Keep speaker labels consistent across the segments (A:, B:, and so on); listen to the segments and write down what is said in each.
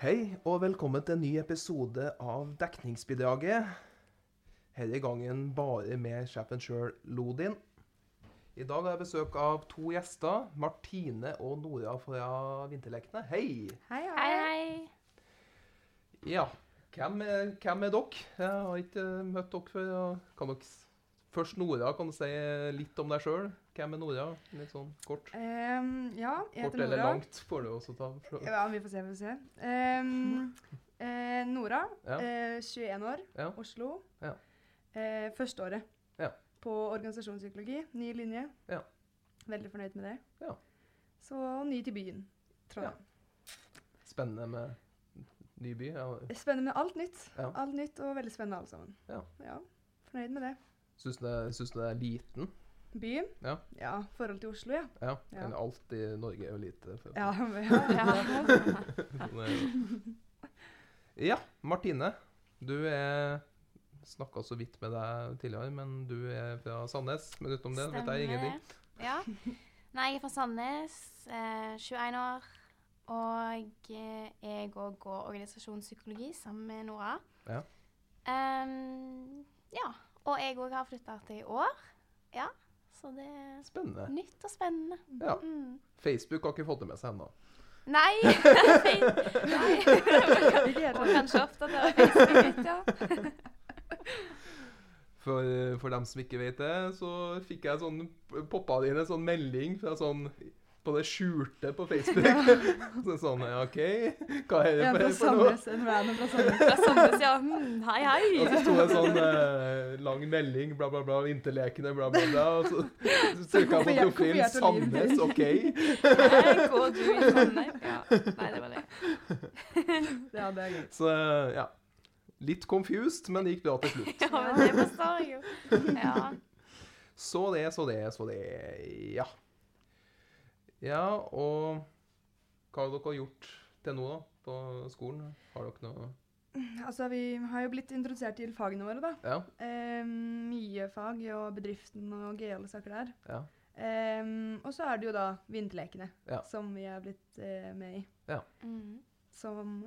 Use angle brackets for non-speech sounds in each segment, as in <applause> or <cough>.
A: Hei, og velkommen til en ny episode av Dekningsbidraget. Denne gangen bare med sjefen sjøl, Lodin. I dag har jeg besøk av to gjester, Martine og Nora fra Vinterlekene. Hei!
B: Hei,
C: Hei, hei.
A: Ja, hvem er, hvem er dere? Jeg har ikke eh, møtt dere før. og Kan dere, s- først Nora, kan du si litt om deg sjøl? Hvem er Nora? Litt sånn kort.
B: Ehm, ja, jeg
A: Kort
B: heter
A: eller
B: Nora.
A: langt får du også ta.
B: Ja, vi får se, vi får se.
A: <laughs>
B: Ehm, eh, Nora,
A: Ja.
B: eh, 21 år,
A: Ja.
B: Oslo.
A: Ja.
B: Eh, Førsteåret
A: Ja.
B: på organisasjonspsykologi, ny linje.
A: Ja.
B: Veldig fornøyd med det.
A: Ja.
B: Så ny til byen, Trondheim.
A: Spennende med Nyby. Ja.
B: Spennende med alt nytt.
A: Ja.
B: Alt nytt og veldig spennende alle sammen.
A: Ja.
B: Fornøyd med det.
A: Syns du det- syns du det er liten?
B: Byen?
A: Ja.
B: ja forhold til Oslo, ja.
A: Ja.
B: Ja.
A: Eller alt i Norge er jo lite. For,
B: Ja, <laughs>
A: Sånn er det. ja, Martine. Du er Snakka så vidt med deg tidligere, men du er fra Sandnes. Men utenom det vet jeg ingenting.
C: Ja. Nei, jeg er fra Sandnes, eh, 21 år. Og eh, jeg òg går organisasjonspsykologi sammen med Nora.
A: Ja.
C: Ehm, ja. Og jeg òg har flytta til i år. Ja. Så det er
A: Spennende.
C: nytt og spennende.
A: Ja.
C: Mm.
A: Facebook har ikke fått det med seg ennå.
C: Nei! <laughs> Nei.
B: Ikke helt
C: Og kanskje oppdatere Facebook litt, ja.
A: For, for dem som ikke vet det, så fikk jeg sånn poppa det inn en sånn melding fra sånn på det skjulte på Facebook. <laughs> så sånn ja, OK, hva er det for,
B: En fra
A: for noe?
B: Sandnes, en random fra Sandnes.
C: Fra Sandnes, ja. Mm, hei,
A: Og så
C: hei.
A: sto det en
B: <laughs>
A: sånn eh, lang melding, bla, bla, bla, interlekende, bla, bla, bla. Og
B: <laughs>
A: så så trykka jeg på profil
B: Kopiert- kopiert og lim.
A: Sandnes, OK.
C: Her går du i Trondheim. Ja. Nei, det var det.
B: Ja, det er gøy.
A: Så eh, ja. Litt confused, men det gikk bra til slutt.
C: Ja, men det forstår jeg jo. Ja.
A: Så det, så det, så det. Ja. Ja, og hva har dere gjort til nå, da? På skolen? Har dere noe
B: Altså, Vi har jo blitt introdusert til fagene våre. da.
A: Ja?
B: Ehm, mye fag og bedriften og gøyale saker der.
A: Ja.
B: Ehm, og så er det jo da vinterlekene,
A: Ja.
B: som vi er blitt eh, med i.
C: Mm.
B: Som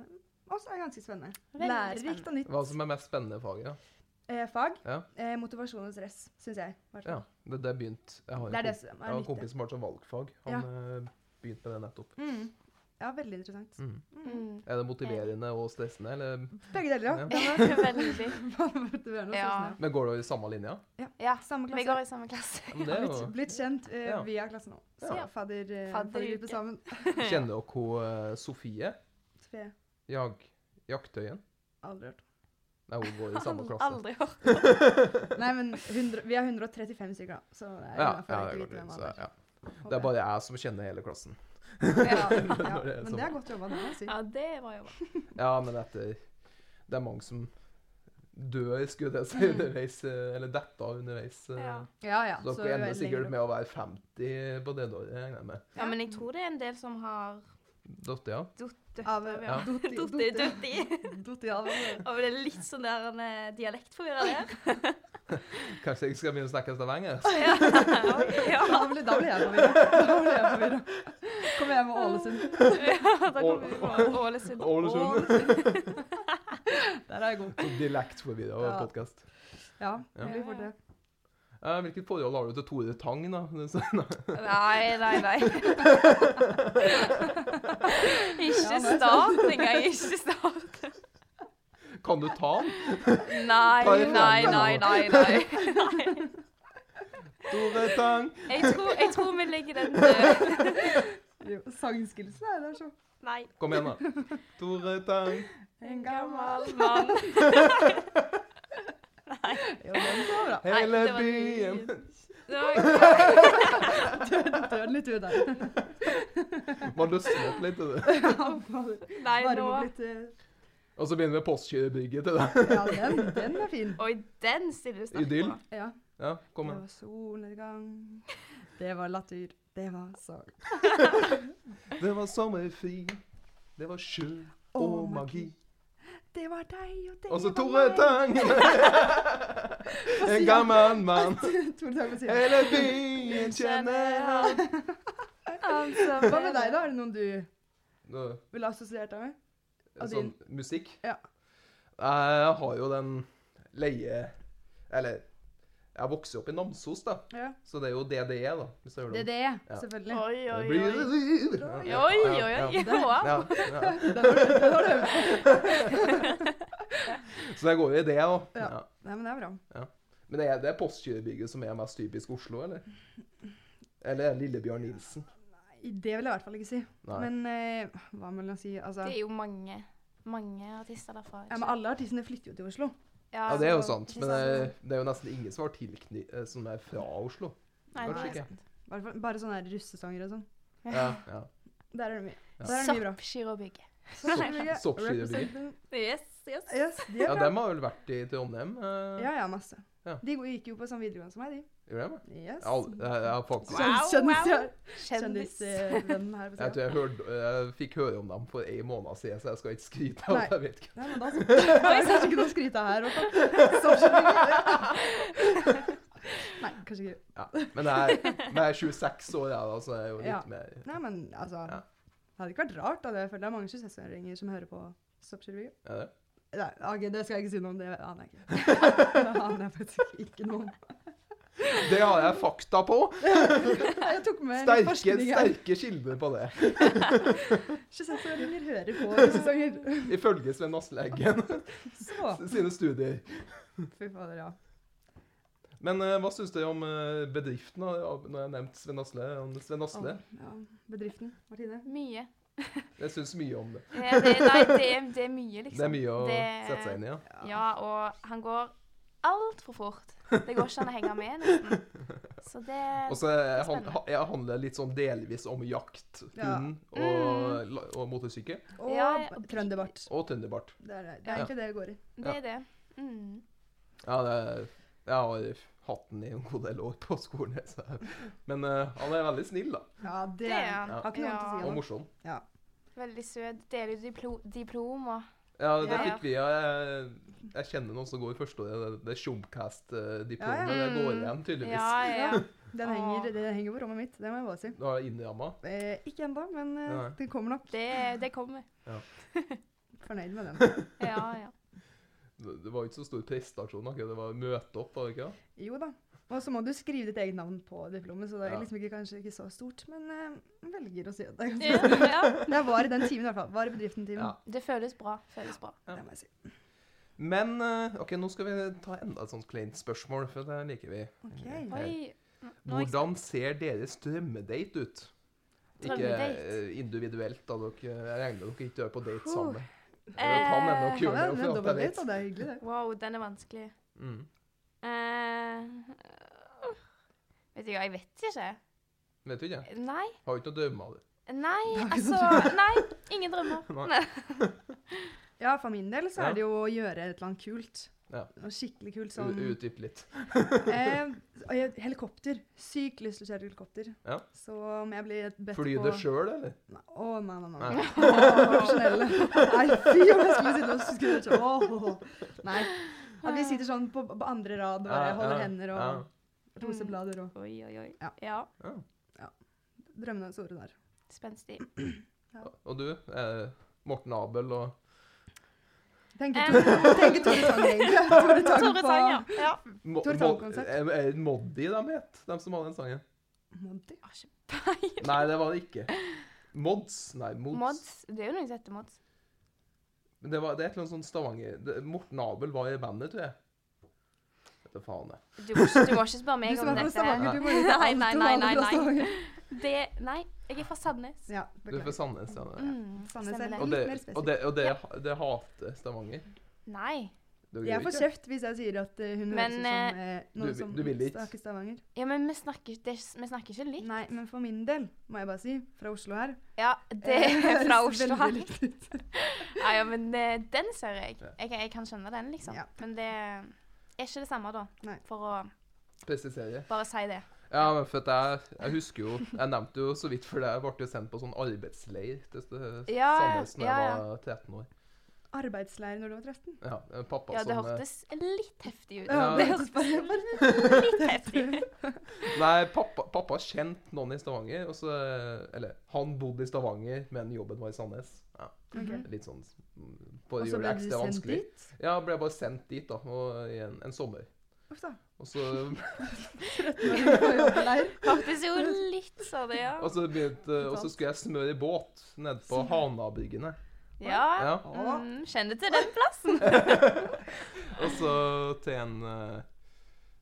B: også er ganske spennende.
C: Veldig
B: Lærerikt og nytt
A: Hva som er mest spennende faget? da?
B: eh, fag.
A: Ja.
B: Eh, motivasjon og stress, syns jeg. i hvert
A: Ja,
B: fall.
A: det, det begynte Jeg har
B: Det er
A: en
B: det
A: kom-
B: som
A: jeg har
B: er
A: en
B: nyttig.
A: kompis som har som valgfag. Han eh, begynte med det nettopp.
B: Mm. Ja, veldig interessant.
A: Mm.
B: Mm.
C: <laughs> Mm.
A: Er det motiverende og stressende, eller
B: Begge deler, ja.
C: Veldig.
B: Det var noe
C: Ja.
B: sånn,
A: Men går det i samme linja?
C: <laughs> Ja,
B: Samme
C: vi
B: klasse.
C: går i samme klasse.
A: Ja, men det er jo...
B: Blitt, blitt kjent eh,
A: Ja.
B: via klassen nå. Så
C: Ja.
B: fadder, eh,
C: Fadderuke.
B: faddergruppe sammen.
A: Kjenner dere hun eh, Sofie
B: Sofie,
A: Jag Jaktøyen?
B: aldri hørt.
A: Nei, hun går i samme
C: Aldri-
A: klasse.
C: <laughs> Aldri hørt.
B: Nei, men 100, vi er 135 stykker, da. Så det er
A: Ja,
B: innenfor
A: ja,
B: å
A: det,
B: ikke
A: går
B: vite
A: til,
B: hvem
A: så,
B: alle er.
A: ja.
B: Håper
A: det er
B: jeg.
A: bare jeg som kjenner hele klassen. <laughs>
B: ja,
A: det
B: ja.
A: er
B: Men det er godt jobba, det. Altså.
C: Ja, det var jo bra.
A: Ja, men etter Det er mange som dør, skulle jeg si, underveis, eh, eller detter underveis. eh.
C: Ja.
B: Mm. Ja, ja.
A: Så
B: så
A: dere
B: vi
A: ender
B: er
A: sikkert
B: lenger
A: med å være 50 på det året, regner jeg med.
C: ja, men jeg tror det er en del som har
A: Dotter, ja.
C: dødt
B: Av-
C: <laughs> over.
B: Dotti-
C: Dotti,
B: dotti.
C: dotti.
B: opp. Dott i alle.
C: Og det er litt sånn der en eh, dialektforvirra <laughs> der.
A: Kanskje jeg skal begynne å snakke stavanger? <laughs>
C: Ja. Ja,
B: Da blir da blir jeg forvirra. Da blir jeg forvirra. Kommer jeg med Ålesund.
C: <laughs> ja, da kommer vi på Ålesund.
A: Ålesund.
B: Der er jeg god.
A: Dialektforvirra
B: Ja.
A: podkast.
B: Ja,
A: Ja.
B: det blir fort det.
A: Eh, Hvilket forhold har du til Tore Tang, da? <laughs>
C: Nei, nei, nei. <laughs> Ikke start engang. Ikke start.
A: Kan du ta han?
C: Nei,
A: Ta i
C: nei, nei,
A: hendene
C: nei. nei. nei.
A: <laughs> Tore Tang!
C: Jeg tror, jeg tror vi legger den
B: eh,
C: død.
B: Jo, Sangskillsen er der, så.
C: Nei.
A: Kom igjen, da. Tore Tang.
B: En gammel
C: mann.
B: Jo, den var bra.
C: Nei,
A: Hele
C: det var
A: byen. <laughs>
C: Det var,
B: Dør litt ut der.
A: Man løsnet litt. Det.
C: nei,
B: Bare
C: nå
B: må blitt eh,
A: Og så begynner vi Postgirobygget til det.
B: Ja, den, den er fin.
C: Oi, den stiller du sterkt
A: Idyll.
C: på.
B: Ja.
A: Ja, kom
B: Det
A: igjen.
B: var solnedgang. <laughs> Det var latter. Det var sang.
A: Det var sommerfri, det var sjø og
B: Å,
A: magi.
B: Det var deg, og det
A: Og så
B: var
A: Tore
B: meg.
A: Tang! En gammel mann.
B: <laughs> Tore Tang må si det.
A: Hele byen kjenner han.
C: Altså, <laughs>
B: Hva med deg, da? Er det noen du
A: Nå,
B: ville assosiert deg med? Av
A: sånn musikk.
B: Ja.
A: Jeg har jo den leie Eller jeg vokste opp i Namsos, da.
B: Ja.
A: Så det er jo DDE, da. Hvis jeg gjør
B: Det
A: det.
B: er det,
A: Ja.
B: selvfølgelig.
C: Oi, E, oi,
A: Det
C: oi.
A: blir-
C: Oi,
A: Ja,
C: oi,
A: ja,
C: oi.
A: ja.
C: <laughs> Wow.
A: Ja, ja.
B: Det har du- det har du øvd på.
A: <laughs> Så jeg går jo i det, da.
B: Ja.
A: Ja.
B: Nei, men det er bra.
A: Men er det postkjørebygget som er mest typisk Oslo, eller? Eller er det Lillebjørn Nilsen?
B: Nei, Det vil jeg i hvert fall ikke si.
A: Nei.
B: Men eh, hva vil jeg si? Altså,
C: Det er jo mange, mange artister derfra.
B: ja, men alle artistene flytter jo til Oslo.
A: ja, det er jo
C: altså,
B: så-
A: sant. Men det er, det er jo nesten ingen som, har tilkny eh, som er fra Oslo.
C: Nei,
A: Kanskje
C: nei.
A: ikke.
B: I hvert fall- Bare sånne her russesanger og sånn.
A: Ja, ja.
B: Der er det mye.
A: Ja.
B: Der er det mye bra.
C: Soppgirobygget.
B: <laughs> Soppskyrobygget,
A: Soppskyrobygget.
B: representing-
C: Yes, yes.
B: Yes, de
A: ja
B: er bra.
A: dem har vel vært i Trondheim? eh,
B: Ja, ja, masse.
A: Ja.
B: De go- gikk jo på samme videregående som meg, de.
A: Gjorde de?
B: Yes.
A: Jeg har aldri- Jeg jeg har faktisk
C: Wow, wow.
B: Kjendisvennen
C: Kjendis.
B: eh, her. på
A: <laughs> Jeg
B: siden.
A: tror jeg, hørte, jeg fikk høre om dem for en måned siden, så jeg skal ikke skryte av
B: Nei.
A: det. Jeg vet
B: <laughs>
A: ikke.
B: Nei, men da så. Det er kanskje ikke noe å skryte av her, i hvert
A: <laughs>
B: fall. Soppskyrobygget. Nei, kanskje ikke.
A: Ja. Men jeg, men jeg er 26 år, jeg, da, så jeg er jo litt
B: Ja.
A: mer
B: Nei, men altså
A: Ja.
B: Det hadde ikke vært rart. Da. Jeg føler det er mange 26-åringer som hører på Soppskyrobygget.
A: er det?
B: Nei, ok, det skal jeg ikke si noe om. Det
A: <laughs>
B: aner jeg ikke. Det aner jeg faktisk ikke noe om.
A: det har jeg fakta på!
B: Jeg tok med litt
A: Sterke,
B: forskning her.
A: sterke kilder på det.
B: 26-åringer hører på russesanger.
A: Ifølge Sven Asle Eggen
B: <laughs> Så
A: sine studier.
B: Fy fader, ja.
A: Men eh, hva syns dere om eh, bedriften, da, av- når jeg har nevnt Sven Asle? Om Sven Asle?
B: Å, ja. Bedriften, Martine.
C: Mye.
A: Jeg syns mye om det.
C: Det, Eh, det, nei, det, det er mye, liksom.
A: Det er mye å
C: Det-
A: sette seg inn i, ja.
C: Ja, og han går altfor fort. Det går ikke an å henge med, nesten. Så det
A: Og så eh, han-
C: spennende.
A: jeg handler litt sånn delvis om jakt,
B: Ja.
A: hund og,
C: Mm.
A: la- og motorsykkel.
B: Og
C: Ja,
B: b- trønderbart.
A: Og Trønderbart.
B: Det er, det
C: Ja.
B: er egentlig det det går i.
C: Det er det. Mm.
A: Ja, det er, jeg har hatt den i en god del år på skolen. jeg, Så. Men eh, han er veldig snill da,
B: Ja, det
C: Det er han.
A: Ja.
B: Har ikke noe annet å si
A: og
B: om det.
A: morsom.
C: Veldig søt. Deler ut diplo diplom og
A: Ja, det
C: Ja, ja.
A: fikk vi. ja. Jeg, jeg kjenner noen som går i første året. Det, det Tjomcast-diplomet.
B: Ja,
A: Det går
C: Mm.
A: igjen, tydeligvis.
C: Ja, ja. ja.
B: Den
A: Ah.
B: henger, den henger på rommet mitt, det må jeg bare si.
A: Du har innramma.
B: Eh, ikke ennå, men eh,
A: Nei.
B: den kommer nok.
C: Det, det kommer.
B: Fornøyd med
A: <laughs>
B: den.
C: Ja, <laughs> ja.
A: Det det var jo ikke så stor prestasjon. Ikke? Det var å møte opp, var det ikke? det?
B: Jo da. Og så må du skrive ditt eget navn på diplomet, så det
A: Ja.
B: er liksom ikke, kanskje ikke så stort, men eh, velger å si at det er ganske
C: ja, ja.
B: Men Jeg var i den timen i hvert fall. Var i bedriften-timen.
A: Ja.
C: Det føles bra. Føles bra.
A: Ja.
B: Det må jeg si.
A: Men eh, ok, nå skal vi ta enda et sånt kleint spørsmål, for det liker vi. Eh,
B: Ok.
C: Oi. Nå er jeg
A: Hvordan ser deres drømmedate ut? Ikke
C: Drømmedate?
A: eh, individuelt, da. Dere, jeg regner med dere ikke er på date
B: Huh.
A: sammen. Eller kan hende dere
B: Ja,
C: Eh,
A: gjør
B: det
A: det,
B: er- det
A: for alt jeg
B: er
A: vet.
B: dobbeltdate, og det er hyggelig, det.
C: spent. Wow, den er vanskelig.
A: Mm.
C: Eh, vet du hva, jeg vet ikke.
A: Vet du ikke?
C: Nei.
A: Har ikke noe drømmer av
B: <laughs>
A: det.
C: Nei,
B: Det var ikke
C: altså
B: noe
C: Nei, ingen drømmer.
A: Nei.
B: Ja, for min del så
A: Ja.
B: er det jo å gjøre et eller annet kult.
A: Ja.
B: Noe skikkelig kult
A: U-
B: sånn
A: Utdyp litt.
B: eh, og jeg- Helikopter. Sykt lyst til å kjøre helikopter.
A: Ja.
B: Så om jeg blir et bedt
A: Fly
B: på
A: det sjøl, eller?
B: Nei, Å, nei, nei, nei.
A: Nei.
B: Å, profesjonelle. Nei, fy om jeg skulle sitte og skulle kjøre Åh. Nei. At vi sitter sånn på, på andre rad og bare
A: Ja,
B: holder
A: ja,
B: hender og
A: ja.
B: roseblader og
C: Oi, oi, oi.
B: Ja.
C: Ja.
A: Ja.
C: Mm.
B: drømmene store der. <laughs>
C: Spenstig.
A: Og du? Eh, Morten Abel og
B: Tenker
C: Em.
B: Tore tenker Tore Tang, egentlig.
C: <laughs>
B: Tore Tang
C: Tore
B: på
C: Tang, ja. ja.
A: Mo-
B: Tore
A: Mo-
B: Tang-konsert.
A: Er er det Moddi de het, de som hadde den sangen?
B: Monty.
C: Har ikke peiling.
A: Nei, det var det ikke. Mods? Nei, Mods.
C: Mods. Det er jo noen som heter Mods.
A: Men Det, var, det er et eller annet sånn Stavanger det, Morten Abel var i bandet, tror jeg. Vet du faen, jeg.
C: Du må, ikke, du må ikke spørre
B: Du
C: meg
B: som
C: om
B: er fra
C: dette.
B: Stavanger, du må vite
C: <laughs> Nei,
B: alt
C: nei,
B: om
C: nei,
B: alle
C: nei,
B: fra
C: nei.
B: Stavanger.
C: Det Nei, jeg er fra Sandnes.
B: Ja,
A: Du er
B: beklager.
A: fra Sandnes? Ja, det er.
C: Mm,
B: Sandnes
C: stemmer
B: er
C: det.
A: Og
B: Litt
A: det,
B: mer
A: og det, og det, det hater Stavanger?
C: Nei.
A: Du,
B: Jeg
A: gjør
B: får
A: ikke det?
B: kjeft hvis jeg sier at eh, hun
C: Men,
B: høres ut som eh,
A: du
B: noen
A: vil-
B: som
A: du vil dit.
B: snakker Stavanger.
C: Ja, men vi snakker, det, er ikke- vi snakker ikke likt.
B: Nei, men for min del, må jeg bare si, fra Oslo her
C: Ja, det
B: <laughs> eh,
C: er fra
B: høres
C: Oslo
B: veldig
C: her.
B: likt ut.
C: Ja, ja, men eh, den ser jeg.
A: Ja.
C: jeg. Jeg kan skjønne den, liksom.
B: Ja.
C: Men det er ikke det samme, da.
B: Nei.
C: For å
A: Presiserer.
C: bare si det.
A: Ja, men for at jeg, jeg husker jo Jeg nevnte jo så vidt for det, jeg ble jo sendt på sånn arbeidsleir til St-
C: Ja,
A: Sandnes da
C: ja,
A: jeg
C: ja.
A: var 13 år.
B: arbeidsleir når du var 13.
A: Ja, det er pappa
C: Ja, det
A: som eh,
C: hørtes litt heftig ut.
B: Ja,
A: Ja.
B: det høres bare, bare
A: <laughs>
C: Litt heftig ut.
A: Nei, pappa, pappa kjente noen i Stavanger. Og så, eller han bodde i Stavanger, men jobben var i Sandnes. Ja,
B: <laughs> Ok.
A: litt sånn mm, For
B: Og
A: å
B: så
A: gjøre det
B: ble du
A: ekstra
B: sendt
A: vanskelig.
B: dit?
A: Ja, ble bare sendt dit da, og, i en, en sommer.
B: Uff da.
A: Og så,
B: På jobbeleir.
C: Hørtes jo litt sånn ut, <laughs> ja.
A: og så, begynte, og så
B: Sant.
A: skulle jeg smøre båt nede på Hanabyggene.
C: Ja.
A: Ja.
C: Mm, kjenner til den plassen.
A: <laughs> Og så til en eh,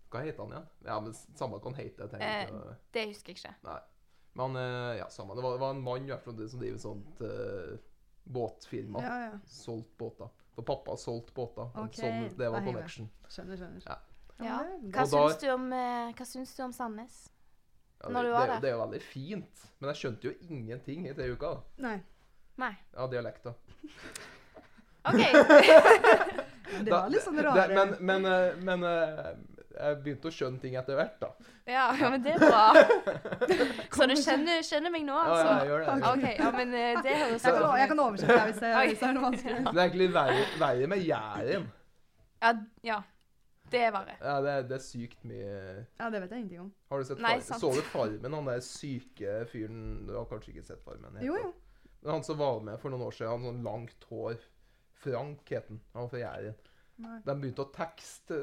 A: Hva heter han igjen? Ja, men Samme hva han heter. Jeg
C: Eh.
A: tenker, ikke å-
C: Det husker jeg ikke.
A: nei. Men eh, ja, samme. Det var, det var en mann i hvert fall som driver sånt eh, båtfirma.
B: Ja, ja.
A: Solgt båter. For pappa har solgt båter.
B: Ok,
A: Sånn, det
B: da
A: var
B: hiver jeg.
A: connection.
B: Skjønner, skjønner.
A: Ja.
C: Ja.
B: men det-
C: Hva
A: Og da-
C: syns, du om, eh, hva syns du om Sandnes?
A: Ja,
C: Når
A: det,
C: du var
A: det,
C: der.
A: det er jo veldig fint, men jeg skjønte jo ingenting i tre uker da,
B: Nei.
C: Nei.
A: av dialekta.
C: OK.
B: Men det
A: Da-
B: var litt sånn
A: det-
B: rare
A: Men, men, eh, men eh, jeg begynte å skjønne ting etter hvert, da.
C: <laughs> Ja, ja, men det
A: <laughs>
C: er bra. Så du kjenner, kjenner meg nå,
A: Ja, ja, jeg
C: altså?
A: gjør det.
C: OK. Ja, men eh, det høres
B: Jeg kan,
C: bra
B: jeg
C: ut.
B: kan oversette deg hvis det,
C: Oi.
B: hvis det er noe
C: <laughs>
B: vanskelig.
A: Det er egentlig verre, verre med Jæren.
C: Ja, ja. Det er verre.
A: Ja, det, er- det er sykt mye
B: Ja, det vet jeg ingenting om.
A: Har du sett
C: Nei,
A: far,
C: sant.
A: Så du Farmen, han der syke fyren Du har kanskje ikke sett Farmen? heter
B: Jo,
A: han.
B: jo.
A: Men Han som var med for noen år siden, han sånn langt hår. Frank het han. Han var fra Jæren.
B: Nei.
A: De begynte å tekste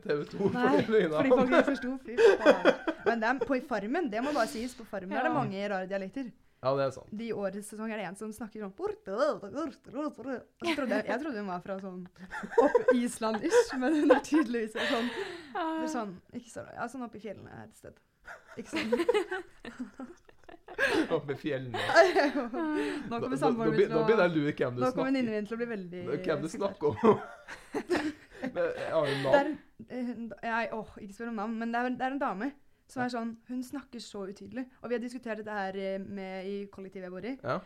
A: TV 2
B: Nei,
A: fordi det
B: Fordi folk ikke forsto. Fy faen. Men det er på Farmen, det må bare sies, på Farmen er det
C: Ja.
B: mange rare dialekter.
A: Ja, det er sant.
B: De i årets sesong er det en som snakker sånn «Borte, borte, borte, borte». Og så trodde jeg, jeg trodde hun var fra sånn opp Island-ish, men hun er tydeligvis fra sånn, fra sånn, ikke så, ja, sånn oppe i fjellene her et sted. Ikke sånn.
A: Oppe i fjellene.
B: Nå
A: Da-
B: kommer
A: da-
B: samboeren
A: da
B: min
A: be-
B: til
A: Da begynner jeg
B: å...
A: å lure hvem du
B: Nå kommer
A: snakker
B: venninnen min til å bli veldig...
A: Hvem du
B: skuffet.
A: snakker om.
B: <laughs>
A: Men jeg har jo
B: Det er,
A: navn.
B: eh, en da- jeg, åh, ikke spør om navn, men det er, det er en dame som er sånn Hun snakker så utydelig. Og vi har diskutert dette her eh, med, i kollektivet jeg bor i.
A: Ja.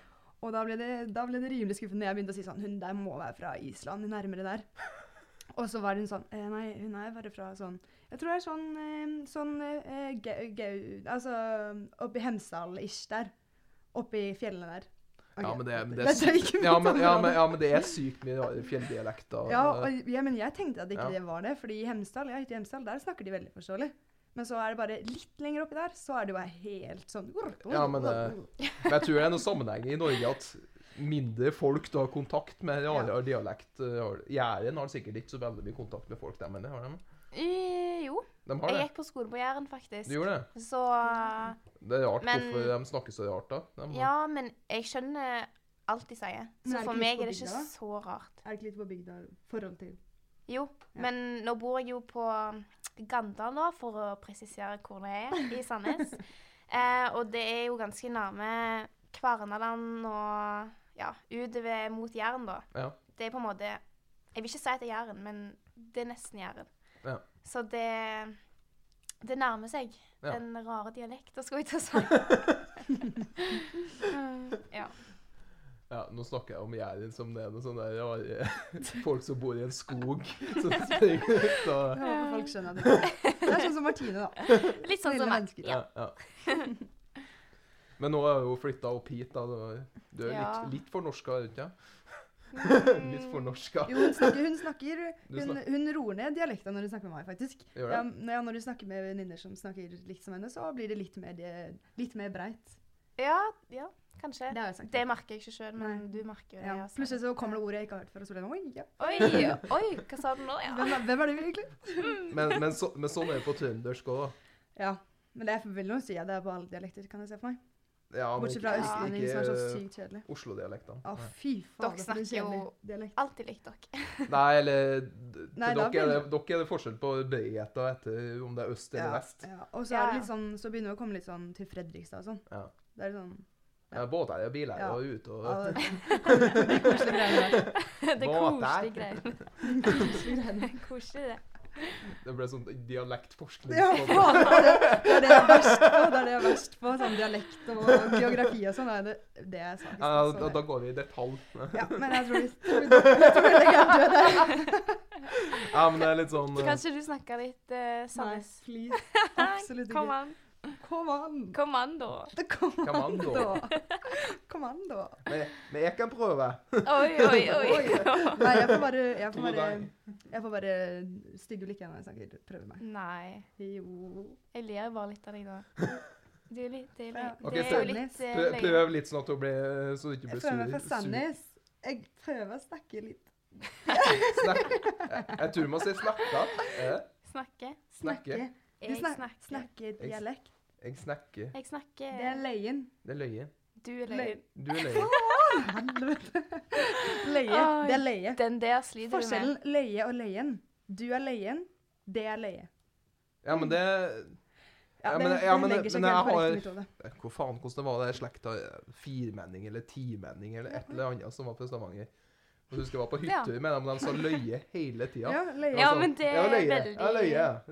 B: Og da ble, det, da ble det rimelig skuffende når jeg begynte å si sånn Hun der må være fra Island. Hun er nærmere der. Og så var hun sånn eh, Nei, hun er bare fra sånn Jeg tror det er sånn, eh, sånn eh, Gau... Gau- Altså oppi Hemsedal-ish der. Oppi fjellene der.
A: Ja,
B: Ok.
A: men det er- men det er
B: Dette er ikke
A: Ja,
B: mitt
A: men, ja,
B: område.
A: men, ja, men det er sykt mye rare fjelldialekter.
B: Ja, og jeg, men jeg tenkte at ikke
A: Ja.
B: det var det, fordi i Hemsedal, ja, ute i Hemsedal, der snakker de veldig forståelig. Men så er det bare litt lenger oppi der, så er det jo bare helt sånn
A: Ja, men, eh, Men jeg tror det er noen sammenheng i Norge at mindre folk du har kontakt med rarere dialekt eh, har- Jæren har sikkert ikke så veldig mye kontakt med folk, dem heller. Har de?
C: Eh, Jo.
A: de har
C: Jeg
A: det.
C: gikk på skole på Jæren, faktisk.
A: Du gjorde det?
C: Så eh,
A: Det er rart
C: Men-
A: hvorfor de snakker så rart, da. De,
C: Ja, men jeg skjønner alt de
B: Men
C: sier.
B: er
C: Så
B: det
C: for
B: ikke
C: meg
B: litt
C: er det
B: på
C: ikke
B: bygda,
C: så rart.
B: Er det ikke litt på bygda forhold til
C: Jo,
B: Ja.
C: men nå bor jeg jo på Gandal nå, for å presisere hvor det er
B: <laughs>
C: i Sandnes. eh, og det er jo ganske nærme Kvarnaland og ja, utover mot Jæren, da.
A: Ja.
C: Det er på en måte Jeg vil ikke si at det er Jæren, men det er nesten Jæren.
A: Ja.
C: Så det Det nærmer seg
A: Ja.
C: den rare dialekten, skulle jeg til å si. Mm,
B: <laughs>
C: <laughs> ja.
A: Ja, nå snakker jeg om Jæren som det er noen sånne rare <laughs> folk som bor i en skog. Som springer ut og
B: Jeg håper folk skjønner at det ikke Det er sånn som Martine, da.
C: Litt sånn som
B: Snille mennesker.
A: Ja, ja. Men nå er jeg jo flytta opp hit, da. Du- Du er
C: Ja.
A: litt, litt fornorska, er du ikke? Litt
C: Mm,
A: fornorska.
B: Jo, hun snakker, hun, snakker
A: Du
B: hun,
A: snakker-
B: hun roer ned dialekta når hun snakker med meg, faktisk.
A: Gjør
B: Ja,
A: det?
B: når, ja, når du snakker med venninner som snakker likt som henne, så blir det litt mer, det- litt mer breit.
C: ja, ja, kanskje.
B: Det har jeg sagt.
C: Det merker jeg ikke sjøl, men
B: Nei.
C: du merker jo det.
B: Ja.
C: altså.
B: Plutselig så kommer det ordet jeg ikke har hørt før, og så blir det sånn Oi, ja.
C: Oi, oi, hva sa du nå? Ja.
B: Hvem er, hvem er du, egentlig?
A: Men, men, så, men sånn er det på trøndersk òg, da.
B: Ja, men det er- vil nå si at det er på alle dialekter, kan jeg se for meg.
A: Ja, men
B: Bortsett fra
A: ikke-
B: østlending,
A: ikke
B: som er så sykt kjedelig.
A: Oslo-dialekten.
B: Å, fy faen,
C: Dere
B: for en
C: snakker jo-
B: kjedelig dialekt.
C: Alltid likt dere. <laughs>
A: Nei, eller d-
B: Nei,
A: til dere,
B: da
A: er det, dere er det forskjell på bredheta etter om det er øst eller
B: Ja,
A: vest.
B: ja. Og så
C: Ja,
B: er det
C: ja.
B: litt sånn, så begynner det å komme litt sånn til Fredrikstad og sånn.
A: Ja.
B: Det er litt sånn
A: Ja. Båteiere og bileiere
B: Ja.
A: og ute og
B: ja, Det er koselige greier. der.
C: Det er
A: Hva er
C: koselige
A: det? <laughs>
C: greiene.
B: Koselige greier.
C: Det er <laughs> Koselig, det.
A: Det ble sånn dialektforskning. <laughs>
B: <laughs> Ja,
A: på-
B: faen, det er det- det er det jeg er verst på. Det er det jeg er verst på. Sånn dialekt og geografi og sånn. er Det, det sånn er jeg svakest
A: Ja,
B: på,
A: da,
B: så
A: da
B: det-
A: går vi i detalj.
B: Ja, men jeg tror vi, tror vi, jeg tror vi legger død der.
A: Ja, men det er litt sånn eh,
C: Kanskje du snakker litt uh, Sandnes?
B: Nei, please. Absolutt
C: <laughs> Kom
B: ikke.
C: an.
B: Kommando.
C: Kommando.
B: Kommando.
A: Kommando.
B: Kommando.
A: Men, men jeg kan prøve.
B: <laughs>
C: Oi, oi, <laughs> oi.
B: Nei, jeg får bare Jeg
A: To
B: får bare,
A: dager.
B: jeg får bare stygge blikker når jeg snakker. Prøve meg.
C: Nei.
B: Jo.
C: Jeg ler bare litt av deg
B: <laughs>
C: nå. Du er litt, det er litt,
A: Ok,
C: det er
A: så-
C: jo litt eh,
A: Prøv,
C: løgn.
A: prøv litt sånn at du blir, så du ikke
B: Jeg
A: blir
B: føler meg
A: sur.
B: fra Sandnes. Jeg prøver å snakke litt.
A: sur. Snakk. Jeg, jeg tror man sier snakka. Eh,
C: Snakke.
A: snakke.
B: Du
C: Jeg
B: snak,
C: snakker.
B: snakker dialekt.
A: Jeg snakker.
C: Jeg snakker.
B: Det er løyen.
A: Det er løye.
C: Du er løgn.
A: Du er løye.
B: Helvete. Løye.
C: Oi.
B: Det er løye.
C: Den der sliter du med.
B: Forskjellen løye og løyen. Du er løyen, det er løye.
A: Ja, men det Ja, men-
B: det,
A: ja, men-
B: det legger seg
A: men
B: ikke
A: jeg
B: helt
A: har-
B: korrekt i mitt hode.
A: Hvor faen hvordan det var det slekta eh, firmenning eller timenning eller et eller annet som var fra Stavanger? Jeg husker jeg var på
C: Ja.
A: hyttetur med dem, og de sa løye hele tida.
B: Ja, løye.
C: Ja, men det er veldig-
A: sånn, Ja, løye. Løye.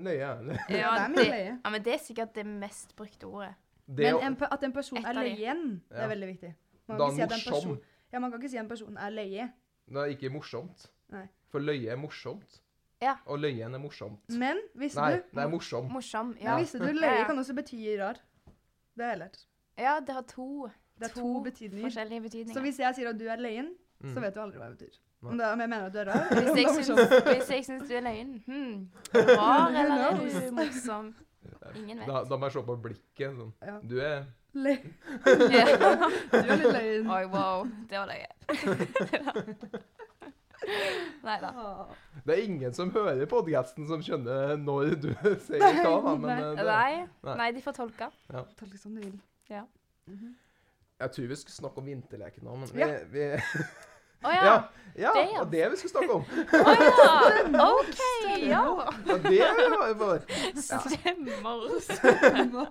A: løye.
B: Ja, det er mye løye.
C: Ja, men det er sikkert det mest brukte ordet.
A: Det
B: Men
A: å-
B: en, pe- at en person
C: Et
B: er
C: av de.
B: løyen, det
A: Ja.
B: er veldig viktig. Man
A: Da
B: kan, ikke si at en
A: morsom.
B: person, ja, man kan ikke si at en person er løye.
A: Det er ikke morsomt.
B: Nei.
A: For løye er morsomt.
C: Ja.
A: Og løyen er morsomt.
B: Men visste
A: Nei,
B: du
A: det er morsom.
C: Morsom.
B: ja.
C: Ja,
B: visste du,
C: Ja,
B: løye
C: ja.
B: kan også bety rar. Det har jeg lært.
C: ja det har to,
B: Det er to,
C: To
B: betydninger.
C: forskjellige
B: Så
C: betydninger.
B: hvis jeg sier at du er løyen, så
A: Mm.
B: vet du aldri hva det betyr.
A: Nei.
B: Om, det, om jeg mener at du er
C: <laughs>
B: rar, eller
C: Hvis
B: om det
C: jeg
B: er morsom.
C: syns, hvis jeg syns du er løgn hmm. Rar, eller er du morsom? Ingen vet.
A: Da, da må jeg se på blikket. Sånn.
B: Ja.
A: Du er
B: Løy-
C: Ja.
B: Du er litt løyen.
C: <laughs> Oi, wow. Det var løye. Nei da.
B: Ah.
A: Det er ingen som hører podkasten som skjønner når du <laughs> sier hva, da, men
B: Nei.
A: eh, det,
C: Nei.
A: Nei.
C: Nei, de får tolke.
B: Tolk som du
C: <laughs>
B: vil.
A: Jeg tror vi skulle snakke om vinterleken nå, men vi,
B: Ja.
A: vi
C: Å
A: Ja,
C: ja.
A: ja
C: Det,
A: det
C: ja.
A: var det vi skulle snakke om.
C: Å ja. OK,
A: Ja,
C: ja.
A: det var jo bare
C: Stemmer.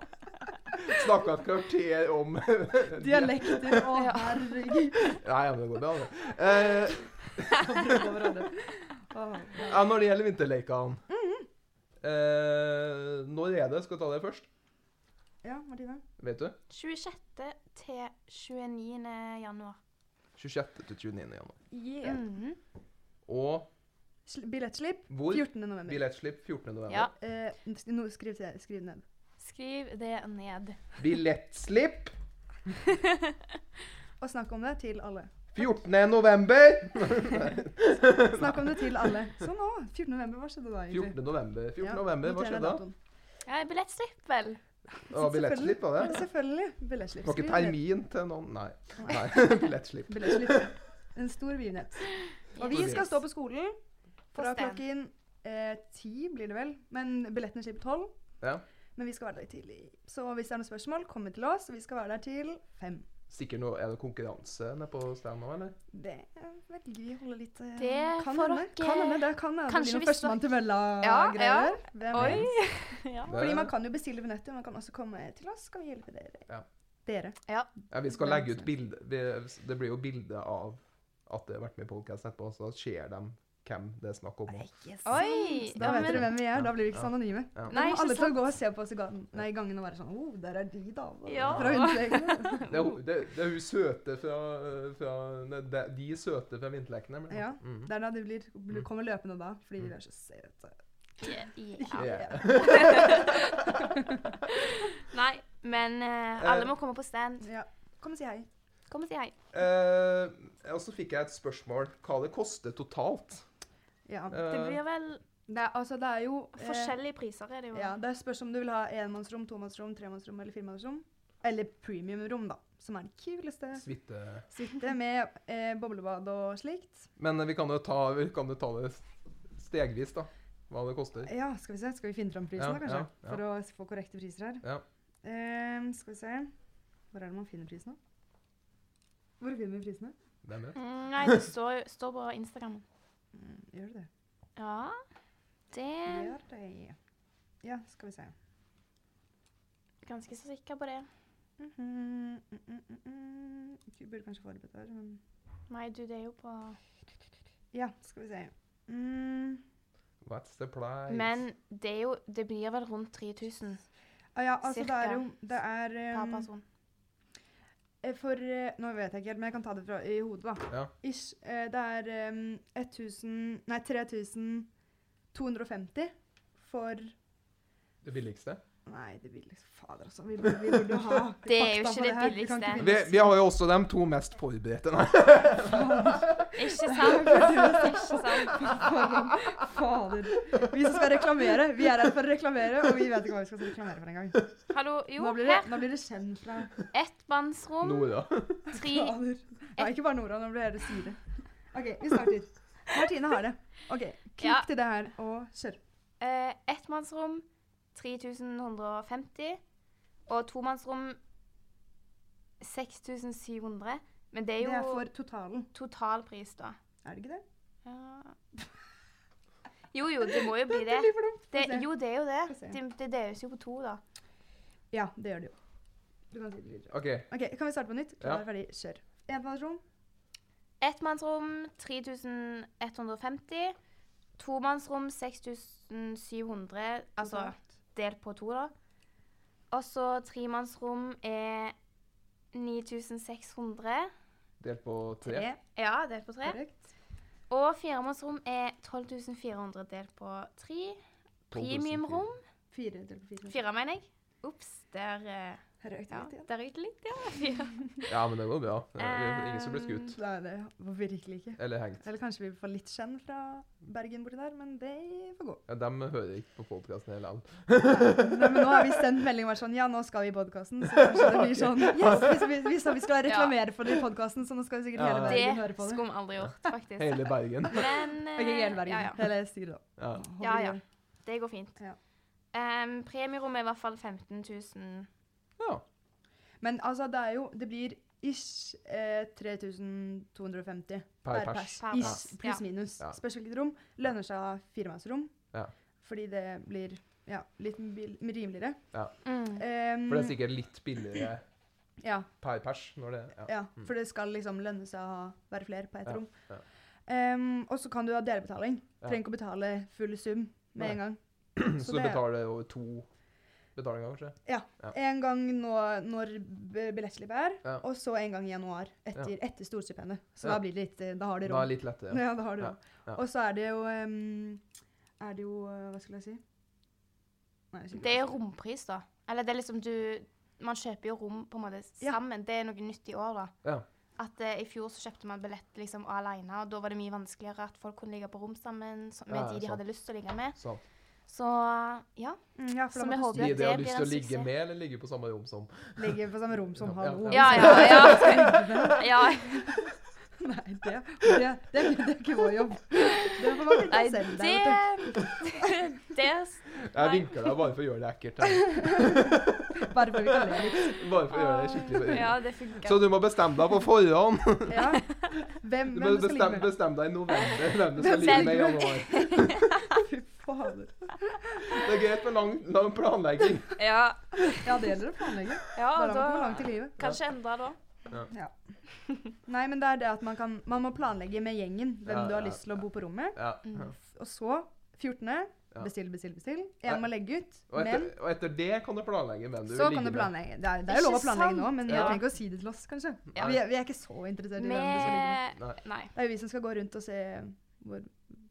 A: Snakka et kvarter om <laughs> Nei,
B: Dialekter og
C: Ja. <laughs>
B: herregud.
A: ja, men det går bra, det. Eh, ja, når det gjelder vinterlekene eh, Når er det? Skal vi ta det først?
B: Ja, Martine.
A: Vet du?
C: 26. til 29. januar.
A: 26. til 29. januar.
B: Yeah.
C: Mhm.
A: Og
B: Mm. Sl- Billettslipp
A: hvor?
B: 14. november.
A: Billettslipp 14. november.
C: Ja.
B: Eh, nå, skriv, til- skriv ned.
C: Skriv det ned.
A: Billettslipp
B: Og snakk om det til alle.
A: 14. november.
B: Snakk om det til alle. Så nå, 14. november, hva skjedde da egentlig?
A: 14. november, 14.
B: Ja,
A: november, hva
B: noterer
A: skjedde da?
B: datoen.
C: Ja, billettslipp, vel.
A: Det var billettslipp, var
B: Ja,
A: det?
B: Selvfølgelig. Billettslipp.
A: Det var ikke
B: Skriv ned.
A: termin til noen Nei. Nei. <laughs> Billettslipp.
B: Billettslipp. En stor begivenhet. Og vi
A: Yes.
B: skal stå på skolen fra
C: På stand.
B: klokken eh, ti, blir det vel. Men billettene slipper tolv.
A: Ja.
B: Men vi skal være der tidlig. Så hvis det er noen spørsmål, kom til oss. Vi skal være der til fem.
A: Sikkert noe Er det konkurranse nede på stedet nå, eller?
B: Det velger vi å holde litt eh,
C: Det
B: kan
C: får
B: hende.
C: dere-
B: Kan hende. Det kan hende
C: Kanskje
B: det blir noen
C: hvis
B: førstemann til
C: Ja,
B: mølla-greier.
C: ja.
B: Hvem
C: Oi.
B: vet?
C: Ja.
A: Det-
B: Fordi man kan jo bestille billetter. Man kan også komme til oss, skal vi hjelpe dere.
A: Ja.
B: Dere.
A: Ja, vi skal legge ut
C: Mm.
A: bilde vi- Det blir jo bilde av at det har vært med i podkast etterpå, så ser de hvem det er snakk om.
B: Nei, yes.
C: Oi!
B: Da
C: Ja,
B: vet
C: men
B: dere hvem vi er.
A: Ja,
B: Da blir vi ikke så
A: ja.
B: anonyme.
A: Ja.
B: Da
C: Nei,
B: kommer
C: ikke sånn.
B: alle til å
C: sant.
B: gå og se på oss i gaten, nei, i gangen og være sånn oh, der er de, da.
C: Ja.
B: Fra Hundesleggen.
A: Det
C: <laughs>
A: er, hun- det, det er hun søte fra, fra nei, de, de søte fra Vinterlekene. blir det.
B: Ja.
A: Mhm.
B: Det er da de blir, blir, kommer løpende da, fordi
A: Mm.
B: vi er så søte.
C: Ja, ja.
A: Ja.
C: Nei, men eh, alle må komme på stand.
B: Ja. Kom og si hei.
C: Kom og si hei.
A: Eh, og så fikk jeg et spørsmål hva det koster totalt.
B: Ja.
C: Det
A: Eh,
C: blir vel
B: Det er, altså, det er jo eh,
C: forskjellige priser, er det jo.
B: Ja, det er spørs om du vil ha enmannsrom, tomannsrom, tremannsrom eller firemannsrom. Eller premiumrom, da, som er det kuleste.
A: Eh, Suite
B: Suite med eh, boblebad og slikt.
A: Men eh, vi kan jo ta, vi kan jo ta det stegvis, da. Hva det koster.
B: Ja, skal vi se. Skal vi finne fram prisen,
A: Ja,
B: da, kanskje?
A: ja, ja.
B: For å s- få korrekte priser her.
A: Ja.
B: Ehm, skal vi se Hvor er det man finner prisen, da? Hvor finner vi prisene?
A: Hvem vet?
C: Mm, Nei, det står, jo- står på Instagram.
B: Mm, Gjør det det?
C: Ja, det
B: Gjør det. Ja, skal vi se.
C: Ganske så sikker på det.
B: Mhm, mm, mm, mm, mm. Du burde kanskje forberedt deg, men
C: Nei, du, det er jo på
B: Ja, skal vi se. Mm.
A: What's the price?
C: Men det er jo Det blir vel rundt 3000
B: Ah, ja, altså det er
C: Cirka.
B: jo Det er
C: per
B: ehm,
C: person.
B: eh, For eh, Nå vet jeg ikke helt, men jeg kan ta det fra, i hodet, da.
A: Ja.
B: Ish. Eh, det er ehm, 1000 Nei, 3250 for
A: Det billigste?
B: Nei, det billigste Fader, altså. Vi burde, vi burde
C: <laughs>
B: ha
C: Det er jo
B: fakta på
C: ikke det
B: her.
C: billigste.
B: Vi kan ikke
A: Vi,
B: <laughs> finne-
A: vi har jo også de to mest forberedte. Nei.
C: Ikke sant? <laughs> Ikke sant?
B: <laughs> Fader. Vi som skal reklamere. Vi er her for å reklamere, og vi vet ikke hva vi skal reklamere for engang.
C: Hallo, jo,
B: Nå blir det,
C: her.
B: nå blir det kjent fra
C: Ettmannsrom,
A: <laughs> Nora.
C: tre
B: Fader. Nei, ikke bare Nora. Nå blir det hele Sire. OK, vi starter. Martine har det. OK, klikk
C: Ja.
B: til det her og kjør.
C: eh, Ettmannsrom 3150. Og tomannsrom 6700. Men det
B: Det
C: er
B: er
C: jo
B: for totalen.
C: totalpris, da.
B: Er det ikke det?
C: Ja. <laughs> Jo, jo, det må jo
B: <laughs>
C: bli det.
B: blir for dumt.
C: det
B: Få se.
C: jo, det er jo det.
B: Få se.
C: Det, det deles jo på to, da.
B: Ja, det gjør det jo. Du kan si det videre.
A: OK.
B: OK, kan vi starte på nytt?
A: Ja.
B: Klar, ferdig, kjør. Enmannsrom.
C: Ettmannsrom 3150. Tomannsrom 6700. Altså
B: totalt.
C: delt på to, da. Og så tremannsrom er 9600.
A: Delt på tre.
B: Tre.
C: Ja, delt på tre.
B: Korrekt.
C: Og firemannsrom er 12400 delt på tre.
A: 12 400.
C: Premiumrom.
B: Fire delt på fire.
C: Fire, mener jeg. Ops, der eh,
B: Her økte
C: ja,
B: litt igjen.
C: der gikk det litt,
B: <laughs>
C: ja. Fire.
A: Ja, men det går bra. Det er ingen som blir skutt.
B: Nei, det var virkelig
C: Eh.
B: ikke.
A: Eller hengt.
B: Eller kanskje vi får litt skjenn fra Bergen borti der, men det får gå.
A: Ja, dem hører ikke på podkasten hele land.
B: Nei, men nå har vi sendt melding og vært sånn Ja, nå skal vi i podkasten. Så kanskje det blir
A: <laughs>
B: sånn Yes, vi, vi, vi sa vi skal reklamere for det i podkasten, så nå skal vi sikkert hele
A: Ja.
B: Bergen høre
C: Det
B: på det.
C: skulle vi aldri
B: <laughs>
C: gjort, faktisk.
A: Hele Bergen.
C: Men eh,
B: Ok, hele Bergen.
C: ja, ja.
B: Hele styret, da.
A: Ja.
B: Håper
C: Ja,
B: det
C: ja.
B: går.
C: Det går fint.
B: Ja.
C: Ehm, premierommet er i hvert fall 15 000.
A: ja.
B: Men altså, det er jo Det blir ish eh, 3250
A: Per pers.
C: Per pers,
B: Ish, pluss
C: ja.
B: minus.
A: Ja.
B: Spesielt rom. Lønner seg å ha firemannsrom,
A: Ja.
B: fordi det blir ja, litt bil- rimeligere.
C: Mm.
B: Um,
A: For det er sikkert litt billigere
B: Ja,
A: per pers når det <clears throat> ja.
B: ja,
A: Mm.
B: for det skal liksom lønne seg å ha- være flere på ett
A: Ja,
B: rom.
A: ja.
B: Um, og så kan du ha delbetaling.
A: Ja.
B: Trenger ikke å betale full sum med
A: Nei.
B: en gang.
A: Så
B: det
A: du
B: er-
A: betaler over to betalinger, kanskje? Ja.
B: En gang nå, når b- billettslippet er,
A: Ja.
B: og så en gang i januar etter, etter storstipendet. Så
A: Ja.
B: da blir det litt eh, Da har de
A: Da er
B: rom.
A: det litt lettere.
B: Ja, da har de
A: Ja,
B: rom.
A: ja.
B: Og så er det jo um, Er det jo eh, Hva skulle jeg si? Nei, jeg husker
C: Det
B: ikke.
C: er rompris, da. Eller det er liksom du Man kjøper jo rom på en måte
B: Ja.
C: sammen. Det er noe nytt i år, da.
A: Ja.
C: At eh, I fjor så kjøpte man billett liksom alene, og da var det mye vanskeligere at folk kunne ligge på rom sammen så, med
A: Ja,
C: de de
A: sant.
C: hadde lyst til å ligge med.
A: Sånn.
C: Så ja.
B: Mm, ja, for
C: som
B: da
C: jeg
B: måtte
C: håper
A: De
C: at
A: de
C: det
A: har
C: blir
A: lyst
C: en
A: til å ligge
C: suksess.
A: med, eller ligge på samme rom som?
B: du ligge på samme rom som
A: Ja,
B: hallo.
C: Ja, ja, ja. ja.
B: <laughs> Nei, det, det, det, det er ikke vår jobb. Det får man
C: Nei,
B: finne selv. der,
C: <laughs>
B: vet du.
C: det Det
A: Jeg vinker deg bare for å gjøre det ekkelt.
C: <laughs>
A: jeg.
B: Bare for vi kan le litt.
A: Bare for å gjøre det skikkelig for
C: Ja,
A: øynene.
C: det funker.
A: Så du må bestemme deg på forhånd.
B: Ja.
A: <laughs>
B: Hvem,
A: Du må
B: hvem du skal ligge
A: bestemme,
B: med?
A: bestemme deg i november
B: <laughs>
A: hvem du skal
B: Hvem
A: ligge
C: skal
A: med i
B: ligge med?
A: januar.
B: Fy fader.
A: Det er greit med lang, lang planlegging.
C: Ja,
B: Ja, det gjelder å planlegge.
C: ja
B: Bare man
C: da
B: kommer langt i livet.
C: Kanskje endre da.
B: Nei, men det er det at man kan Man må planlegge med gjengen hvem
A: Ja,
B: du har
A: ja,
B: lyst til å bo på rommet.
A: Ja.
C: Mm.
B: Og så 14.
A: Ja.
B: Bestill, bestill, bestill. En må legge ut.
A: Og, etter,
B: Men
A: og etter det kan du planlegge hvem du
B: så
A: vil
B: kan du
A: ligge med.
B: planlegge. Det er, det er jo lov å
C: Ikke
B: planlegge nå,
C: sant?
B: men jeg
C: Ja.
B: trenger ikke å si det til oss, kanskje.
C: Ja.
B: Vi, er- vi er ikke så interessert i hvem du skal ligge med.
C: Med
A: Nei.
C: Nei.
B: <laughs> Det er jo vi som skal gå rundt og se hvor,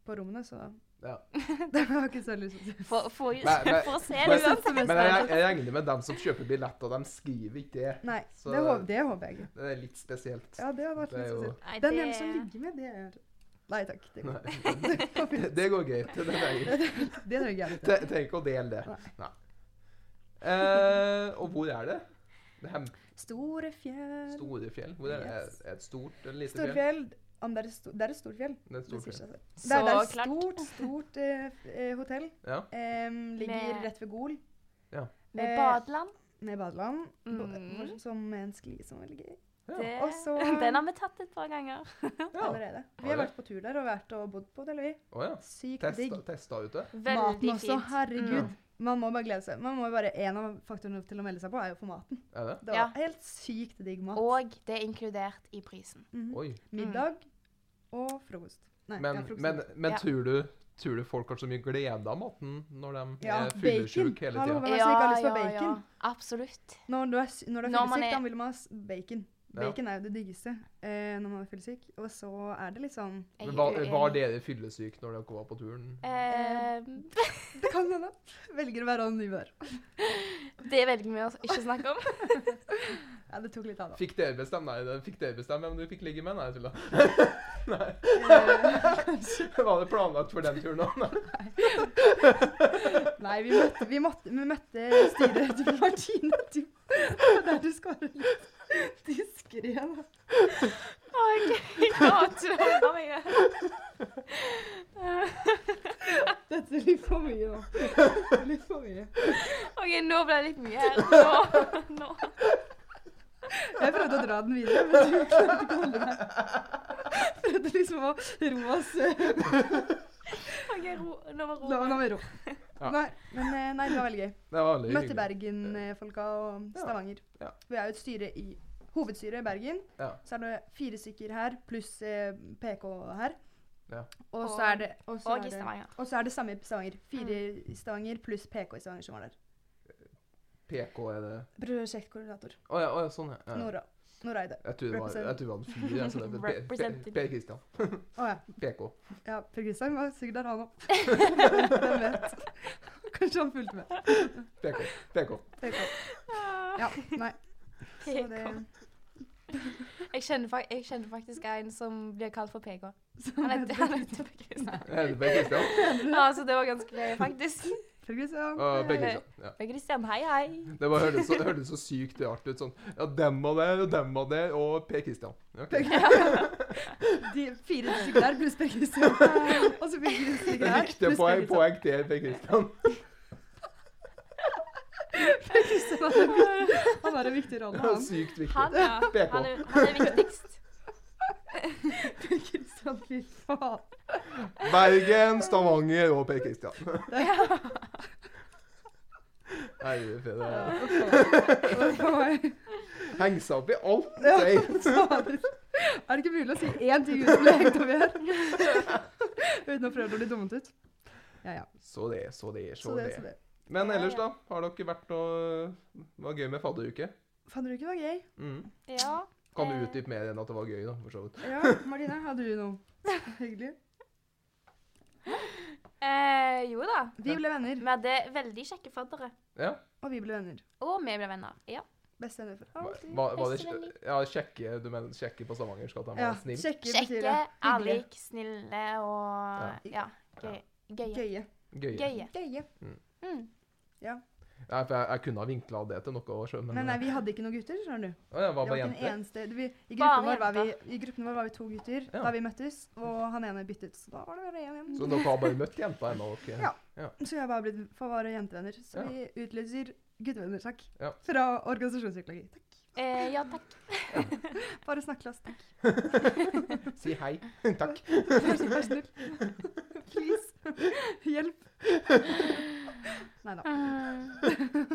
B: på rommene, så
A: Ja.
B: <laughs> det har jeg ikke så lyst til å si.
C: For, for, <laughs>
A: Nei, nei.
C: for å se det
A: Men-
C: uansett.
A: Men jeg, jeg regner med dem som kjøper billett, og de skriver ikke det.
B: Nei,
A: Så-
B: det, håper, det håper jeg ikke.
A: Det er litt spesielt.
B: Ja, det hadde vært
A: Det
B: litt
A: er jo-
B: spesielt.
C: Nei,
B: Den ene som
C: det-
B: ligger med, det er Nei takk. Det går,
A: <laughs> Nei,
B: <laughs> det går fint.
A: det går greit. Det trenger
B: Det trenger jeg ikke.
A: tre- trenger ikke å dele det. Nei. Eh, og hvor er det? Det hem-
B: Store fjell
A: Store fjell? Hvor er det?
B: Eh, Yes.
A: Er det et stort eller lite
B: Store
A: fjell?
B: fjell. Om det, er sto, det er et stort fjell.
A: Det er et
B: Det
A: stort
B: sier seg
A: fjell.
B: selv.
C: Så
B: Det er, det er et
C: klart.
B: stort, stort eh, f- eh, hotell.
A: Ja.
B: Em, ligger
C: Med-
B: rett ved Gol, Eh,
C: Med badeland.
B: med badeland. bo- eh,
C: Mm.
B: Som med en skli som er veldig gøy.
A: Ja.
C: Det,
B: Og så-
C: den har vi tatt et par ganger.
A: Ja.
B: Allerede. Vi har
A: Har det?
B: vært på tur der og vært og bodd på hotellet, vi.
A: Å ja.
B: Sykt digg.
A: Testa, testa ute?
B: Maten
C: Veldig
B: også.
C: fint.
B: Herregud.
A: Mm.
B: Man må bare glede seg. Man må bare, En av faktorene til å melde seg på er jo for maten.
A: Er det?
B: Det var
C: Ja.
B: helt sykt digg mat.
C: Og det er inkludert i prisen.
B: Mhm.
A: Oi.
B: Middag og frokost. Nei,
A: Men,
B: ja, frokost.
A: men, men
C: Ja.
A: tror, du, tror du folk har så mye glede av maten når de
B: Ja,
A: er fyllesyke
B: bacon.
A: hele
B: Hallo,
A: tida?
B: Hvem er det som ikke har lyst på bacon?
C: Absolutt.
B: Når du er, s- når du er
C: Når man
B: fyllesyk,
C: er-
B: da vil man ha s- bacon.
A: Ja.
B: Bacon er jo det diggeste eh, når man er fyllesyk. Og så er det litt sånn <laughs>
C: Jeg
A: Men
C: er
A: var, var
C: uenig.
A: dere fyllesyke når dere var på turen?
C: Eh,
B: Det kan hende. Velger å være anonym der.
C: <laughs> det velger vi å ikke snakke om.
B: Ja, det tok litt av, da.
A: Fikk dere bestemme? Nei, det- fikk dere bestemme hvem du fikk ligge med? Nei, jeg tuller. <laughs>
B: Eh,
A: Var det planlagt for den turen
B: <laughs>
A: òg?
B: Nei, vi møtte, vi måtte, vi møtte styret til Martine. Du, der du skal være litt diskré, da.
C: <laughs> Å, jeg jeg klarte ikke å holde <laughs> meg. Eh,
B: Dette er litt for mye nå. Litt for mye.
C: OK, nå ble det litt mye her. Nå. nå.
B: Jeg prøvde å dra den videre, men du klarte ikke å holde meg. Prøvde liksom å roe oss. eh,
C: OK, ro. Nå var
B: La
C: roen.
B: meg ro.
A: Ja.
B: Nei, men eh, nei, det var veldig gøy.
A: Det var veldig
B: Møtte
A: hyggelig.
B: Bergen-folka og
A: Ja.
B: Stavanger.
A: Ja.
B: Vi er jo et styre i hovedstyret i Bergen.
A: Ja.
B: Så er det fire stykker her, pluss eh, PK her.
A: Ja.
B: Og så
C: Og-
B: er det og så
C: Og
B: er
C: i
B: det-
C: Stavanger. Mm.
B: Og så er det samme i Stavanger. Fire i Stavanger pluss PK i Stavanger som var der.
A: PK er det
B: Prosjektkoordinator.
A: Å ja, å ja, sånn, ja. ja.
B: Nora. Nora Eide.
A: Jeg tror det var, jeg tror det var en fyr. jeg, så det er Per- Per-
C: Represented.
A: Per Kristian.
B: Å ja.
A: PK.
B: ja. Per Kristian var sikkert der, han
C: <laughs>
B: òg. Hvem vet. Kanskje han fulgte med.
A: PK. PK.
B: PK. Ja, nei. Så det,
C: Jeg kjenner, fak- jeg kjenner faktisk en som blir kalt for PK.
B: så
C: Han
B: det-
C: heter, han heter Per Kristian.
A: Er det Per Kristian?
C: Ja, så det var ganske gøy,
B: <laughs>
C: faktisk.
B: Per Kristian.
A: Ja, Per
C: Begge.
A: Kristian. Ja.
C: Per Kristian, hei, hei.
A: Det bare hørtes så, hørtes så sykt rart ut. Sånn Ja, dem og der, og dem og der, og Per Kristian. Ja, ok.
B: <laughs>
C: <laughs>
B: <laughs> De fire stykker der pluss Per Kristian. Og så fire stykker der
A: Riktig
B: pluss Per
A: poeng,
B: Kristian.
A: poeng til Per Kristian.
B: Per Kristian hadde en
C: <laughs>
B: viktig- Han har en viktig rolle, han.
A: Sykt viktig.
C: Han, ja.
A: PK.
C: Han er, han er <laughs> viktigst.
B: Per Kristian, fy faen.
A: Bergen, Stavanger og Per Kristian. Herre fred. Heng seg opp i alt,
B: Ja,
A: sier
B: fader. Er det ikke mulig å si én ting uten å bli hengt over her? Uten å prøve å bli dummet ut. Ja, ja.
A: Så det, så det, så,
B: Så det,
A: det.
B: så det.
A: Men
C: Ja,
A: ellers,
C: ja.
A: da? Har dere vært noe Det var gøy med fadderuke?
B: Fadderuken var gøy.
A: Mm.
C: Ja.
A: Kan du
C: Eh.
A: utdype mer enn at det var gøy, da? For så vidt.
B: Ja, Martine, hadde du noe hyggelig?
C: Eh, jo da.
B: Vi ble venner,
C: Vi hadde veldig kjekke faddere.
A: Ja.
B: og vi ble venner.
C: Og vi ble venner. Ja.
B: Bestevenner for
A: Var,
B: alltid.
A: var, var det,
C: Bestevenner.
A: ja, sjekke, du mener sjekke på Stavangersk at han
B: Ja,
A: var snill?
B: kjekke, betyr
C: Kjekke,
B: det. Hyggelig.
C: ærlige, snille og ja, gøy. Gøye.
B: Gøye.
A: Gøy.
C: Gøye.
B: Gøye.
C: Mm.
A: Nei, for jeg, jeg kunne ha vinkla det til noe òg, men,
B: Men nei, vi hadde ikke noen gutter, skjønner du.
A: Å, jeg var
B: Det var
A: bare
B: ikke en
A: jente.
B: eneste. Vi, i,
C: Bare
B: gruppen vår var vi, I gruppen vår var vi to gutter
A: Ja.
B: da vi møttes, og han ene byttet. Så da var det bare én igjen.
A: Så dere har bare møtt jenta ennå? dere?
B: Ja. Så jeg har bare blitt for våre jentevenner. Så
A: Ja.
B: vi utlyser guttevenner, takk.
A: Ja.
B: Fra organisasjonspsykologi. Takk.
C: Eh, ja takk.
B: Bare snakk til oss, takk.
A: Si
B: <laughs>
A: hei. <laughs> Takk.
B: Vær så vær så snill. Please. Hjelp. Nei da.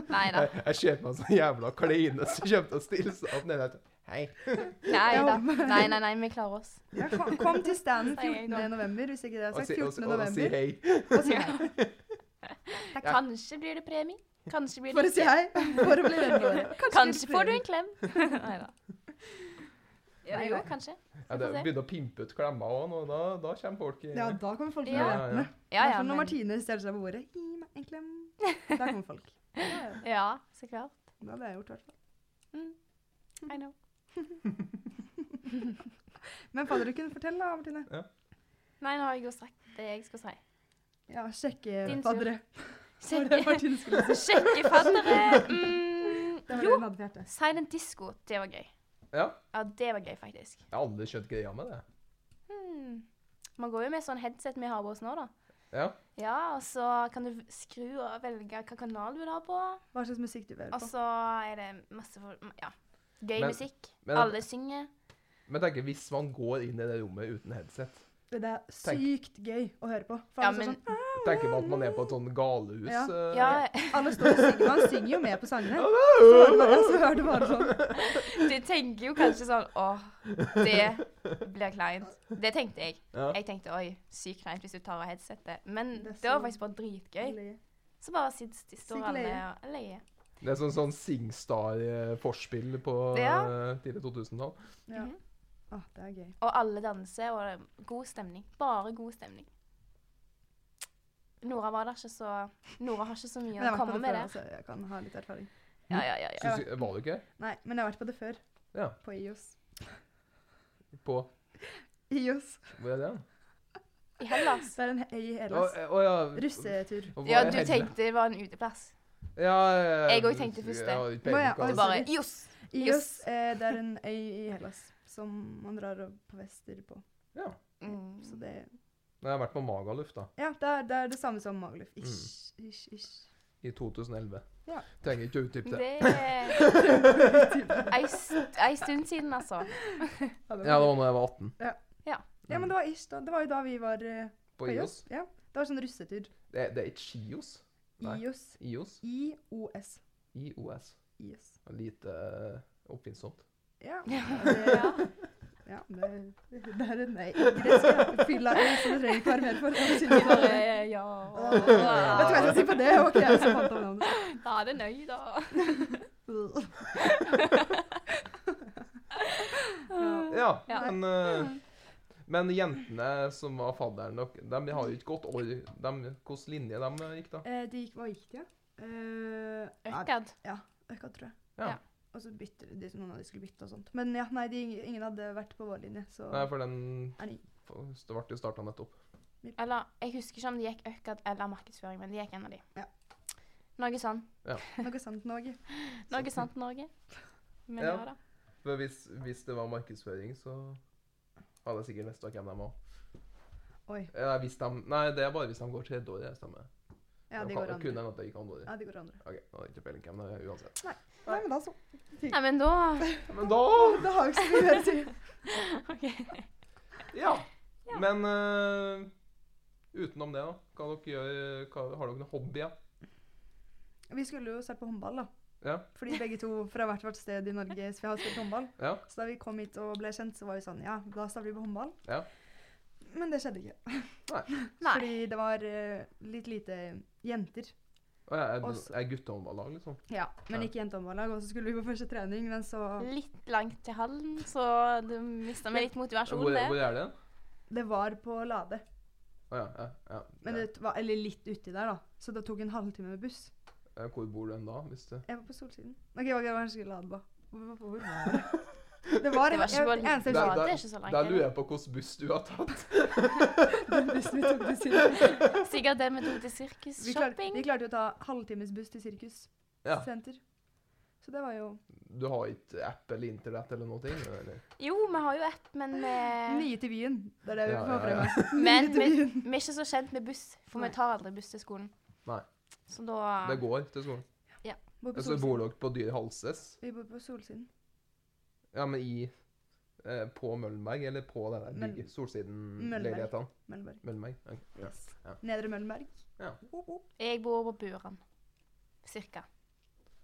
C: Nei da.
A: <laughs> Jeg, jeg ser på meg sånn jævla kleine som kommer til å stille seg opp nede. Hei.
C: Nei
B: Ja,
C: da.
B: men-
C: Nei, nei, nei, vi klarer oss.
B: Ja, kom, kom til standen
C: Sier jeg
B: 14.
C: da.
B: november, hvis ikke det er
A: Og
B: sagt.
A: si, og, og, og
B: 14.
A: si
B: november.
A: hei.
B: Og si hei.
C: <laughs> Da kanskje blir det premie. Kanskje blir det
B: Bare si hei. Bare bli venner med dere.
C: Kanskje
B: blir
C: får du
B: det
C: en klem. <laughs> Nei da. Ja,
B: Nei
C: jo,
B: da.
C: kanskje.
A: Ja, det begynner å pimpe ut klemmer òg nå. Da, da kommer folk i
B: premie. Ja, da kommer folk til å
C: Ja.
B: være
A: Ja, ja.
B: venner.
C: Ja, ja,
B: Når
C: men,
B: Martine stjeler seg på bordet, gi meg en klem. Da kommer folk. Ja, ja.
C: ja så klart.
B: Det hadde jeg gjort, i hvert fall.
C: Mm. I know.
B: Men fadderuken, fortell da, Martine.
C: Nei, nå har jeg jo sagt det jeg skal si.
B: Ja, sjekke
C: Din tur. <laughs>
B: faddere. Var det
C: Sjekke,
B: Martine skulle <laughs> si?
C: sjekke faddere. Mm.
B: Det var det
C: Jo,
B: hun hadde på hjertet.
C: silent disco. Det var gøy.
A: Ja.
C: Ja, det var gøy, faktisk.
A: Jeg har aldri skjønt greia med det.
C: Hmm. Man går jo med sånn headset vi har på oss nå, da.
A: Ja.
C: Ja, og så kan du skru og velge hvilken kanal du vil ha på.
B: Hva slags musikk du hører
C: Og
B: på.
C: så er det masse for, ja, gøy
A: Men-
C: musikk.
A: men-
C: Alle synger.
A: Men tenk hvis man går inn i det rommet uten headset.
B: Det er
A: Tenk.
B: sykt gøy å høre på. For
C: Ja,
B: alle,
C: men-
B: står sånn,
A: Tenker man at man er på et sånn galehus.
B: Ja.
A: eh,
C: Ja,
B: sånn, <laughs> alle står og synger. Man synger jo med på sangene.
A: Ja,
B: Så hører man- ja, Så hører du bare sånn.
C: du tenker jo kanskje sånn Åh, det blir kleint. Det tenkte jeg.
A: ja.
C: Jeg tenkte oi, sykt kleint hvis du tar av headsetet. Men
B: Det er
C: det var
B: så
C: faktisk bare dritgøy. Så bare sitter
B: Sykt
C: står alle
B: leie.
C: og leier.
A: Det er sånn, sånn Singstar-forspill på
C: Ja.
A: eh, tidlig 2000-tall.
B: Ja.
C: Mhm.
B: Å, det er gøy.
C: Og alle danser, og det er god stemning. Bare god stemning. Nora var der ikke så Nora har ikke så
B: Men
C: mye
B: jeg har
C: å
B: vært på
C: komme
B: det
C: med
B: før,
C: der.
B: altså. Jeg kan ha litt erfaring.
C: Ja, ja, ja, ja.
B: Ja.
A: Syns, var du ikke?
B: Nei, men jeg har vært på det før.
A: Ja.
B: På IOS.
A: På
B: IOS.
A: Hvor er det? hen?
C: I Hellas.
B: Det er en he- i
A: Å
B: Hellas.
A: eh, å, ja.
B: Russetur.
A: Og hvor
C: Ja,
A: er
C: du
A: Helle?
C: tenkte det var en uteplass.
A: ja, ja, ja,
C: Jeg òg
A: du-
C: tenkte først det.
A: ja, jeg
B: Å, ja,
A: peiler ikke hva
B: oi,
C: Du
A: det-
C: bare
B: sorry.
C: Jos!
B: IOS, eh, det er en øy i Hellas som man drar og på fester på.
A: ja.
C: Mm.
B: Så det
A: Nei, Jeg har vært på Magaluf, da.
B: Ja, det er det, er det samme som Magluf.
A: Mm.
B: Ish, ish, ish.
A: I 2011.
B: Ja.
A: Trenger ikke å utdype det.
C: Det er ei st- ei stund siden,
B: <laughs>
C: altså.
A: Ja, det var da jeg var 18.
B: Ja, men det var ish. Da. Det var jo da vi var eh,
A: På IOS.
B: Ja. Det var sånn russetur.
A: Det, det er ikke Skios. Nei.
B: IOS.
A: IOS.
B: IOS.
A: IOS.
B: IOS.
A: Lite eh, oppfinnsomt. <laughs>
B: Ja.
C: Ja.
B: <laughs> Det, ja det, det er en nei. Gresk fylla øl, så det trenger ikke være mer for. Det var synd.
C: Bare, ja.
B: Vet du Vet du hva jeg skal si på det? Ok, jeg som fant opp
A: <laughs>
B: navnet.
C: Da er det nøy, da.
A: Ja,
C: Ja.
A: men eh, Men jentene som var fadderen dere, de har jo ikke gått år de, Hvilken linje de gikk, da?
B: Eh, de gikk, hva gikk de, ja? Eh, ja,
C: Ørkad.
B: Økka, tror jeg.
A: Ja.
C: Ja.
B: Og så bytte de, noen av de skulle bytte og sånt. Men ja, nei, de, ingen hadde vært på vår linje, så
A: Nei, for den
B: Er de-
A: det ble jo starta nettopp.
C: Eller jeg husker ikke om det gikk Økad eller markedsføring, men det gikk en av de.
B: Ja.
C: Noe sånn.
B: noe sant Norge.
C: Noe sant, Norge. Men
A: Ja.
C: ja da.
A: For hvis, hvis det var markedsføring, så hadde jeg sikkert visst hvem de var.
B: Oi.
A: Ja, hvis de, nei, det er bare hvis de går tredje året, det stemmer.
B: Ja,
A: de
B: de går
A: Kunne
B: andre.
A: hende at det gikk andre året.
B: Ja, de går andre.
A: Ok, nå har jeg ikke peiling hvem det er
C: <laughs>
A: uansett.
B: Nei, men da så.
C: Nei, men da
A: Men da
B: Det har jo ikke så mye mer å si.
C: <laughs> OK.
A: Ja. Men eh, utenom det, da? Hva dere gjør, hva, har dere noen hobbyer?
B: Vi skulle jo se på håndball, da.
A: Ja.
B: Fordi begge to fra hvert vårt sted i Norge så vi har spilt håndball.
A: Ja.
B: Så da vi kom hit og ble kjent, så var vi sånn Ja, da starter vi på håndball.
A: Ja.
B: Men det skjedde ikke. <laughs>
C: Nei.
B: Fordi det var eh, litt lite jenter.
A: Å, jeg er,
B: Også-
A: er guttehåndballag, liksom?
B: Ja, men
A: Ja.
B: ikke jentehåndballag. Og så skulle vi på første trening, men så
C: Litt langt til hallen, så du mista meg litt motivasjon
A: Hvor,
C: der.
A: hvor er det?
B: Det var på Lade.
A: Å ja, ja, ja.
B: Men
A: ja.
B: det var, eller litt uti der, da. Så det tok en halvtime med buss.
A: Eh, Hvor bor du hen da? Hvis det...
B: Jeg var på Solsiden. OK, hva var det Lade, da? Hvor, hvor
C: <laughs>
B: var det? Det var,
C: Det var ikke
B: jeg-
C: på
B: jeg- eneste jeg
A: Der-
B: husker,
C: Lade,
A: der-
C: det er ikke så langt.
A: Der lurer
C: heller.
A: jeg på hvilken buss du har tatt.
B: den <laughs> bussen vi tok til sirkus.
C: Sikkert det vi tok til
B: Vi, klar, vi
C: sirkusshopping.
B: klarte jo å ta halvtimes buss til sirkussenter.
A: Ja.
B: Så det var jo
A: Du har ikke app eller internett eller noe? Eller?
C: Jo, vi har jo ett, men eh,
B: Nye til byen. Det er det vi
A: Ja,
B: får
A: ja, ja. <laughs>
B: frem. Nye
C: Men
B: til
C: vi,
B: byen.
C: vi er ikke så kjent med buss, for
B: Nei.
C: vi tar aldri buss til skolen.
A: Nei.
C: Så da
A: Det går til skolen.
B: Bor på
A: Og så
B: Solsiden.
A: bor dere på Dyr Halses.
B: Vi bor på Solsiden.
A: Ja, men i eh, På Møllenberg, eller på den der
B: Møll-
A: bygge- Solsiden-leilighetene?
B: Møllenberg.
A: Møllenberg. ok, Ja.
B: Yes.
A: ja.
B: Nedre Møllenberg.
A: Ja.
B: Oh, oh.
C: Jeg bor på Buran. Cirka.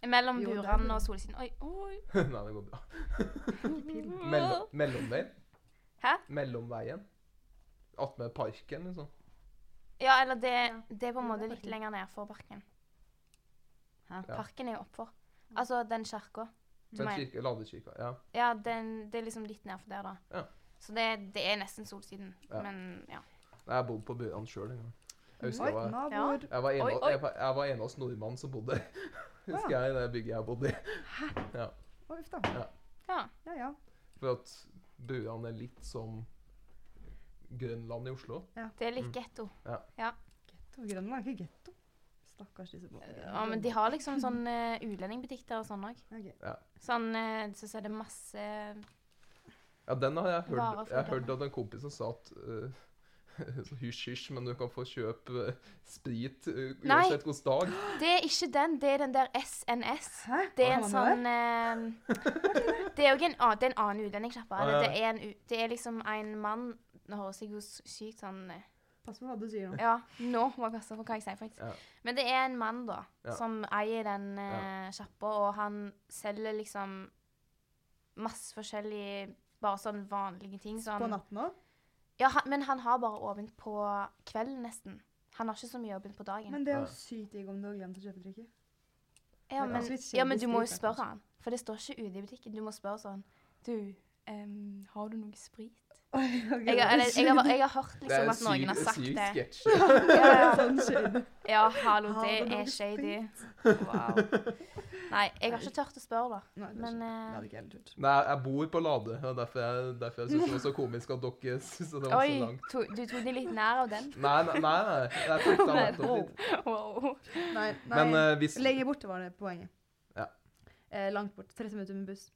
C: Mellom
B: Jo, der
C: Buran
B: bor
C: og
B: du.
C: Solsiden. Oi, oi.
A: <laughs> Nei, det går bra. Mellom, mellomveien?
C: Hæ?
A: Mellomveien? Attmed parken, liksom?
C: Ja, eller det, det er på en
B: Jo,
C: måte
B: det er
C: litt
B: parken.
C: lenger ned for parken.
B: Hæ?
A: Ja.
C: Parken er jo oppfor. Altså den kirka. Du
A: Den
C: mener-
A: kirke, Ladekirka. Ja.
C: Ja, den, det er liksom litt nedfor der, da.
A: Ja.
C: Så det, det er nesten Solsiden.
A: Ja.
C: Men ja.
A: Nei, Jeg bodde på Buran sjøl en gang. Jeg husker
B: Oi,
A: jeg var
B: naboer.
A: Jeg var, en
C: Oi,
A: av,
C: oi.
A: jeg, var- jeg var en av oss nordmenn som bodde <laughs> husker jeg, i det bygget jeg bodde i.
B: Å, uff da.
C: ja.
B: Ja, ja.
A: For at Buran er litt som Grønland i Oslo.
C: Det er litt
A: Mm.
C: getto.
B: Getto. Grønland er ikke getto. Stakkars disse på
C: Ja, men de har liksom sånn eh, utlendingbutikker og sånn òg.
B: Ok.
C: Sånn eh, så er det masse
A: Ja, den har jeg
C: Varer
A: hørt.
C: for
A: Jeg
C: Grønland.
A: hørte at en kompis som sa at eh, <laughs> så Hysj, hysj, men du kan få kjøpe eh, sprit eh,
C: Nei.
A: uansett hvilken dag.
C: Det er ikke den, det er den der SNS.
B: Hæ?
C: Det
B: Hva
C: er en
B: har man
C: sånn eh, Det er jo ikke en, annen- det er en annen utlendingssjappe.
A: Ah, ja.
C: Det, er en u- det er liksom en mann Nå høres jeg jo s- sykt sånn eh,
B: der? Pass på hva du sier nå.
C: Ja, nå må jeg passe på hva jeg sier, faktisk.
A: Ja.
C: Men det er en mann, da,
A: Ja.
C: som eier den eh, sjappa, og han selger liksom masse forskjellige bare sånn vanlige ting. Sånn.
B: På natten òg.
C: Ja, han, men han har bare åpent på kvelden, nesten. Han har ikke så mye åpent på dagen.
B: Men det er
A: Ja.
B: jo sykt digg om du har glemt å kjøpe drikke.
C: Ja,
B: Men
C: men,
B: altså litt
C: ja, men du må jo
B: kjendisdrit, da,
C: spørre han. For det står ikke ute i butikken. Du må spørre sånn Du, em, har du noe sprit? Jeg, har- eller,
B: <laughs>
C: jeg, har, jeg har hørt
A: Det er
C: liksom
A: en
C: at noen har
A: syk,
C: sagt
A: syk
C: det.
A: sketsj. Ja.
C: Ja, ja.
B: sånn shade.
C: <laughs> ja, hallo,
B: Har du
C: det
B: noe
C: er shady. Wow. Nei, jeg har ikke tørt å spørre, da.
B: Nei, det, er ikke,
C: Men
B: det
C: eh,
B: hadde ikke jeg turt.
A: Nei, jeg bor på Lade, og derfor jeg, derfor jeg synes det var så komisk at dere <laughs> synes det var så
C: Oi,
A: langt.
C: to, du tok den litt nær av den.
A: Nei, nei, nei. nei. Jeg tok det av nettopp litt.
C: <laughs> Wow.
B: Nei, nei.
A: Men eh, hvis
B: Lenge borte var det poenget.
A: Ja.
B: Eh, langt bort. 30 minutter med buss.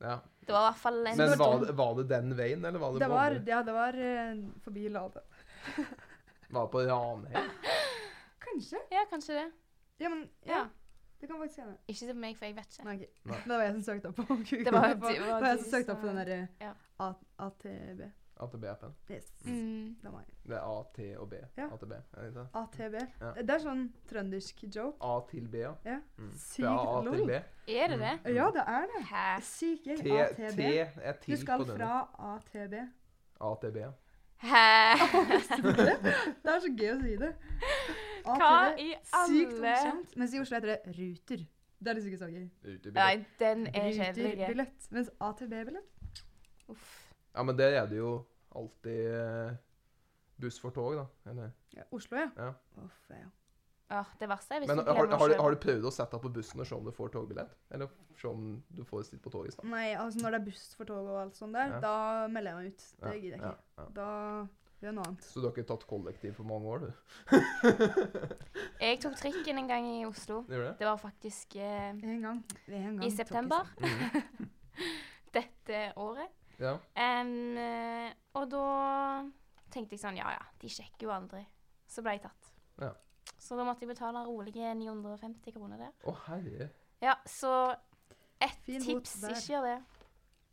A: ja.
C: Det var i hvert fall en
A: Men var det, var det den veien, eller var det,
B: Det
A: på
B: var,
A: andre?
B: ja, det var eh, forbi Lade.
A: Var det på Ranheim?
B: Kanskje?
C: Ja, kanskje det.
B: Ja, men ja.
C: Ja.
B: Det kan faktisk hende.
C: Ikke til meg, for jeg vet ikke.
B: Nei, ok.
A: Nei.
B: Men det var jeg som søkte opp på Google.
C: Det var-
B: Det var,
C: det var
B: jeg
C: du
B: som søkte opp på
C: som-
B: den der eh,
C: ja.
B: A- ATB.
A: AtB-appen.
B: Yes.
C: Mm.
B: Det var jeg.
A: Det er A, T og B.
B: Ja.
A: AtB. Er det ikke det?
B: ATB.
A: Ja.
B: Det er sånn trøndersk joke.
A: A til B, ja.
B: Ja.
A: Mm.
B: Sykt
A: Fra A til
B: lol.
A: B.
C: Er
A: Mm.
C: det det?
B: Ja, det er det.
C: <laughs> Hæ?
B: Syk gjeng.
A: T,
B: ATB.
A: T er
B: Du
A: til
B: skal
A: på den.
B: fra ATB.
A: AtB. ja.
C: Hæ?
B: Det er så gøy å si det.
C: Hva
B: ATB.
C: i
B: Sykt
C: alle
B: morsomt. Mens i Oslo heter det Ruter. Det er det sykeste saken.
A: Ut i
C: Nei,
A: bil.
C: den er kjedelig.
B: Ruterbillett. Mens ATB-billett
C: Uff.
A: Ja, men der er det jo alltid eh, buss for tog, da. Eller?
B: ja, Oslo, ja.
A: Ja.
B: Uff, ja.
C: Ja, det verste er hvis
A: Men
C: du
A: har, har,
C: glemmer å
A: har,
C: kjøpe.
A: du prøvd å sette deg på bussen og se om du får togbillett? Eller se om du får sitt på toget i stedet?
B: Nei, altså når det er buss for tog og alt sånt der,
A: Ja.
B: da melder jeg meg ut. Det gidder jeg
A: Ja,
B: ikke.
A: ja.
B: Da gjør jeg noe annet.
A: Så du har ikke tatt kollektiv på mange
B: <laughs>
A: år, du?
C: Jeg tok trikken en gang i Oslo.
A: Gjør du det?
C: Det var faktisk eh,
B: En gang. En gang
C: i september
A: Mhm.
C: dette året.
A: Ja.
C: Em, eh, og da tenkte jeg sånn Ja ja, de sjekker jo aldri. Så ble jeg tatt.
A: Ja.
C: Så da måtte jeg betale rolige 950 kroner der.
A: Å, herre.
C: Ja, så et
B: Fin bot
C: tips
B: der.
C: ikke gjør det.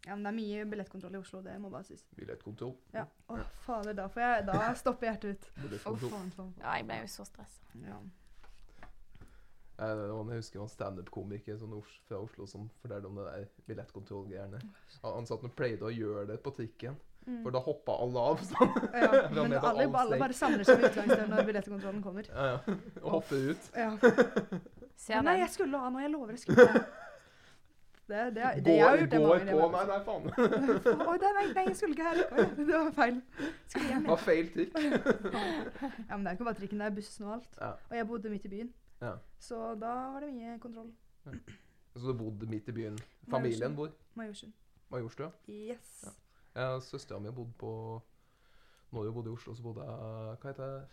B: Ja, men det er mye billettkontroll i Oslo, det må bare sies.
A: Billettkontroll.
B: Ja.
A: Mm.
B: Å, fader, da, får jeg, da stopper hjertet ut. Å,
A: Billettkontroll.
B: faen, faen, faen.
C: Ja, jeg ble jo så stressa.
B: Ja.
A: Eh, og Jeg husker han standup-komiker sånn Os- fra Oslo som fortalte om det der billettkontrollgreiene. Han han sa at han pleide å gjøre det på trikken,
B: Mm.
A: for da hoppa alle av. sa
B: <laughs>
A: han. <laughs>
B: Ja,
A: Vi har
B: men
A: med at
B: alle,
A: alt
B: alle
A: steg.
B: bare samler seg ved utgangsdøren når billettkontrollen kommer.
A: Ja, ja. Og hopper ut.
B: Ja.
C: <laughs> Ser
B: Nei,
C: den.
B: jeg skulle ha noe. Jeg lover jeg skulle ha noe. Det, det, det, jeg har
A: Går,
B: gjort det
A: går
B: mange
A: på
B: ganger.
A: Nei, nei, faen. <laughs>
B: <laughs> Å, nei, nei, nei, jeg skulle ikke her. Å, ja, <laughs> det var feil. Skulle hjem.
A: Var feil trikk.
B: Ja, men det er ikke bare trikken, det er bussen og alt.
A: Ja.
B: Og jeg bodde midt i byen.
A: Ja.
B: Så da var det mye kontroll.
A: Så du bodde midt i byen.
B: sånn.
A: Familien bor
B: Majorstuen.
A: Majorstua.
B: Yes.
A: Ja. Ja, Søstera mi bodde på Når hun bodde i Oslo, så bodde jeg Hva heter det?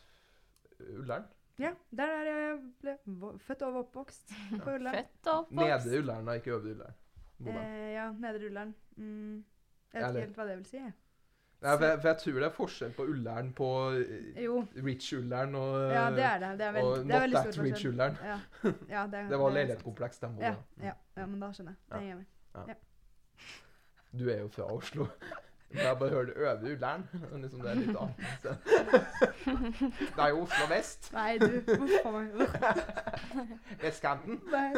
A: Ullern?
B: Ja, der er jeg ble vo- født og oppvokst. På Ullern.
C: Født og oppvokst.
A: Nedre Ullern, da, ikke Øvre Ullern. Bodde jeg.
B: Eh, ja, Nedre Ullern. Mm. Jeg vet
A: Eller-
B: ikke helt hva det vil si. jeg. Eh,
A: Nei, for, jeg, for jeg tror det er forskjell på Ullern på eh,
B: Jo,
A: Rich Ullern og
B: ja, det er det. Det er
A: Eh,
B: veldig,
A: og
B: det er
A: Not
B: veldig
A: That
B: stor
A: Rich
B: forskjell.
A: Ullern. <laughs>
B: Ja. Ja, det,
A: Det var
B: det er sant.
A: leilighetskompleks, den bodde
B: Ja,
A: jeg.
B: ja, ja, men da skjønner jeg. Det
A: Ja.
B: henger jeg med.
A: Du er jo fra
B: <laughs>
A: Oslo. Men jeg bare hørte Øvre Ullern. <laughs> Liksom det er litt
B: <laughs>
A: annet. Så. Det er jo Oslo vest.
B: Nei, du,
A: <laughs>
B: hvorfor meg?
A: Vestkanten.
B: Nei.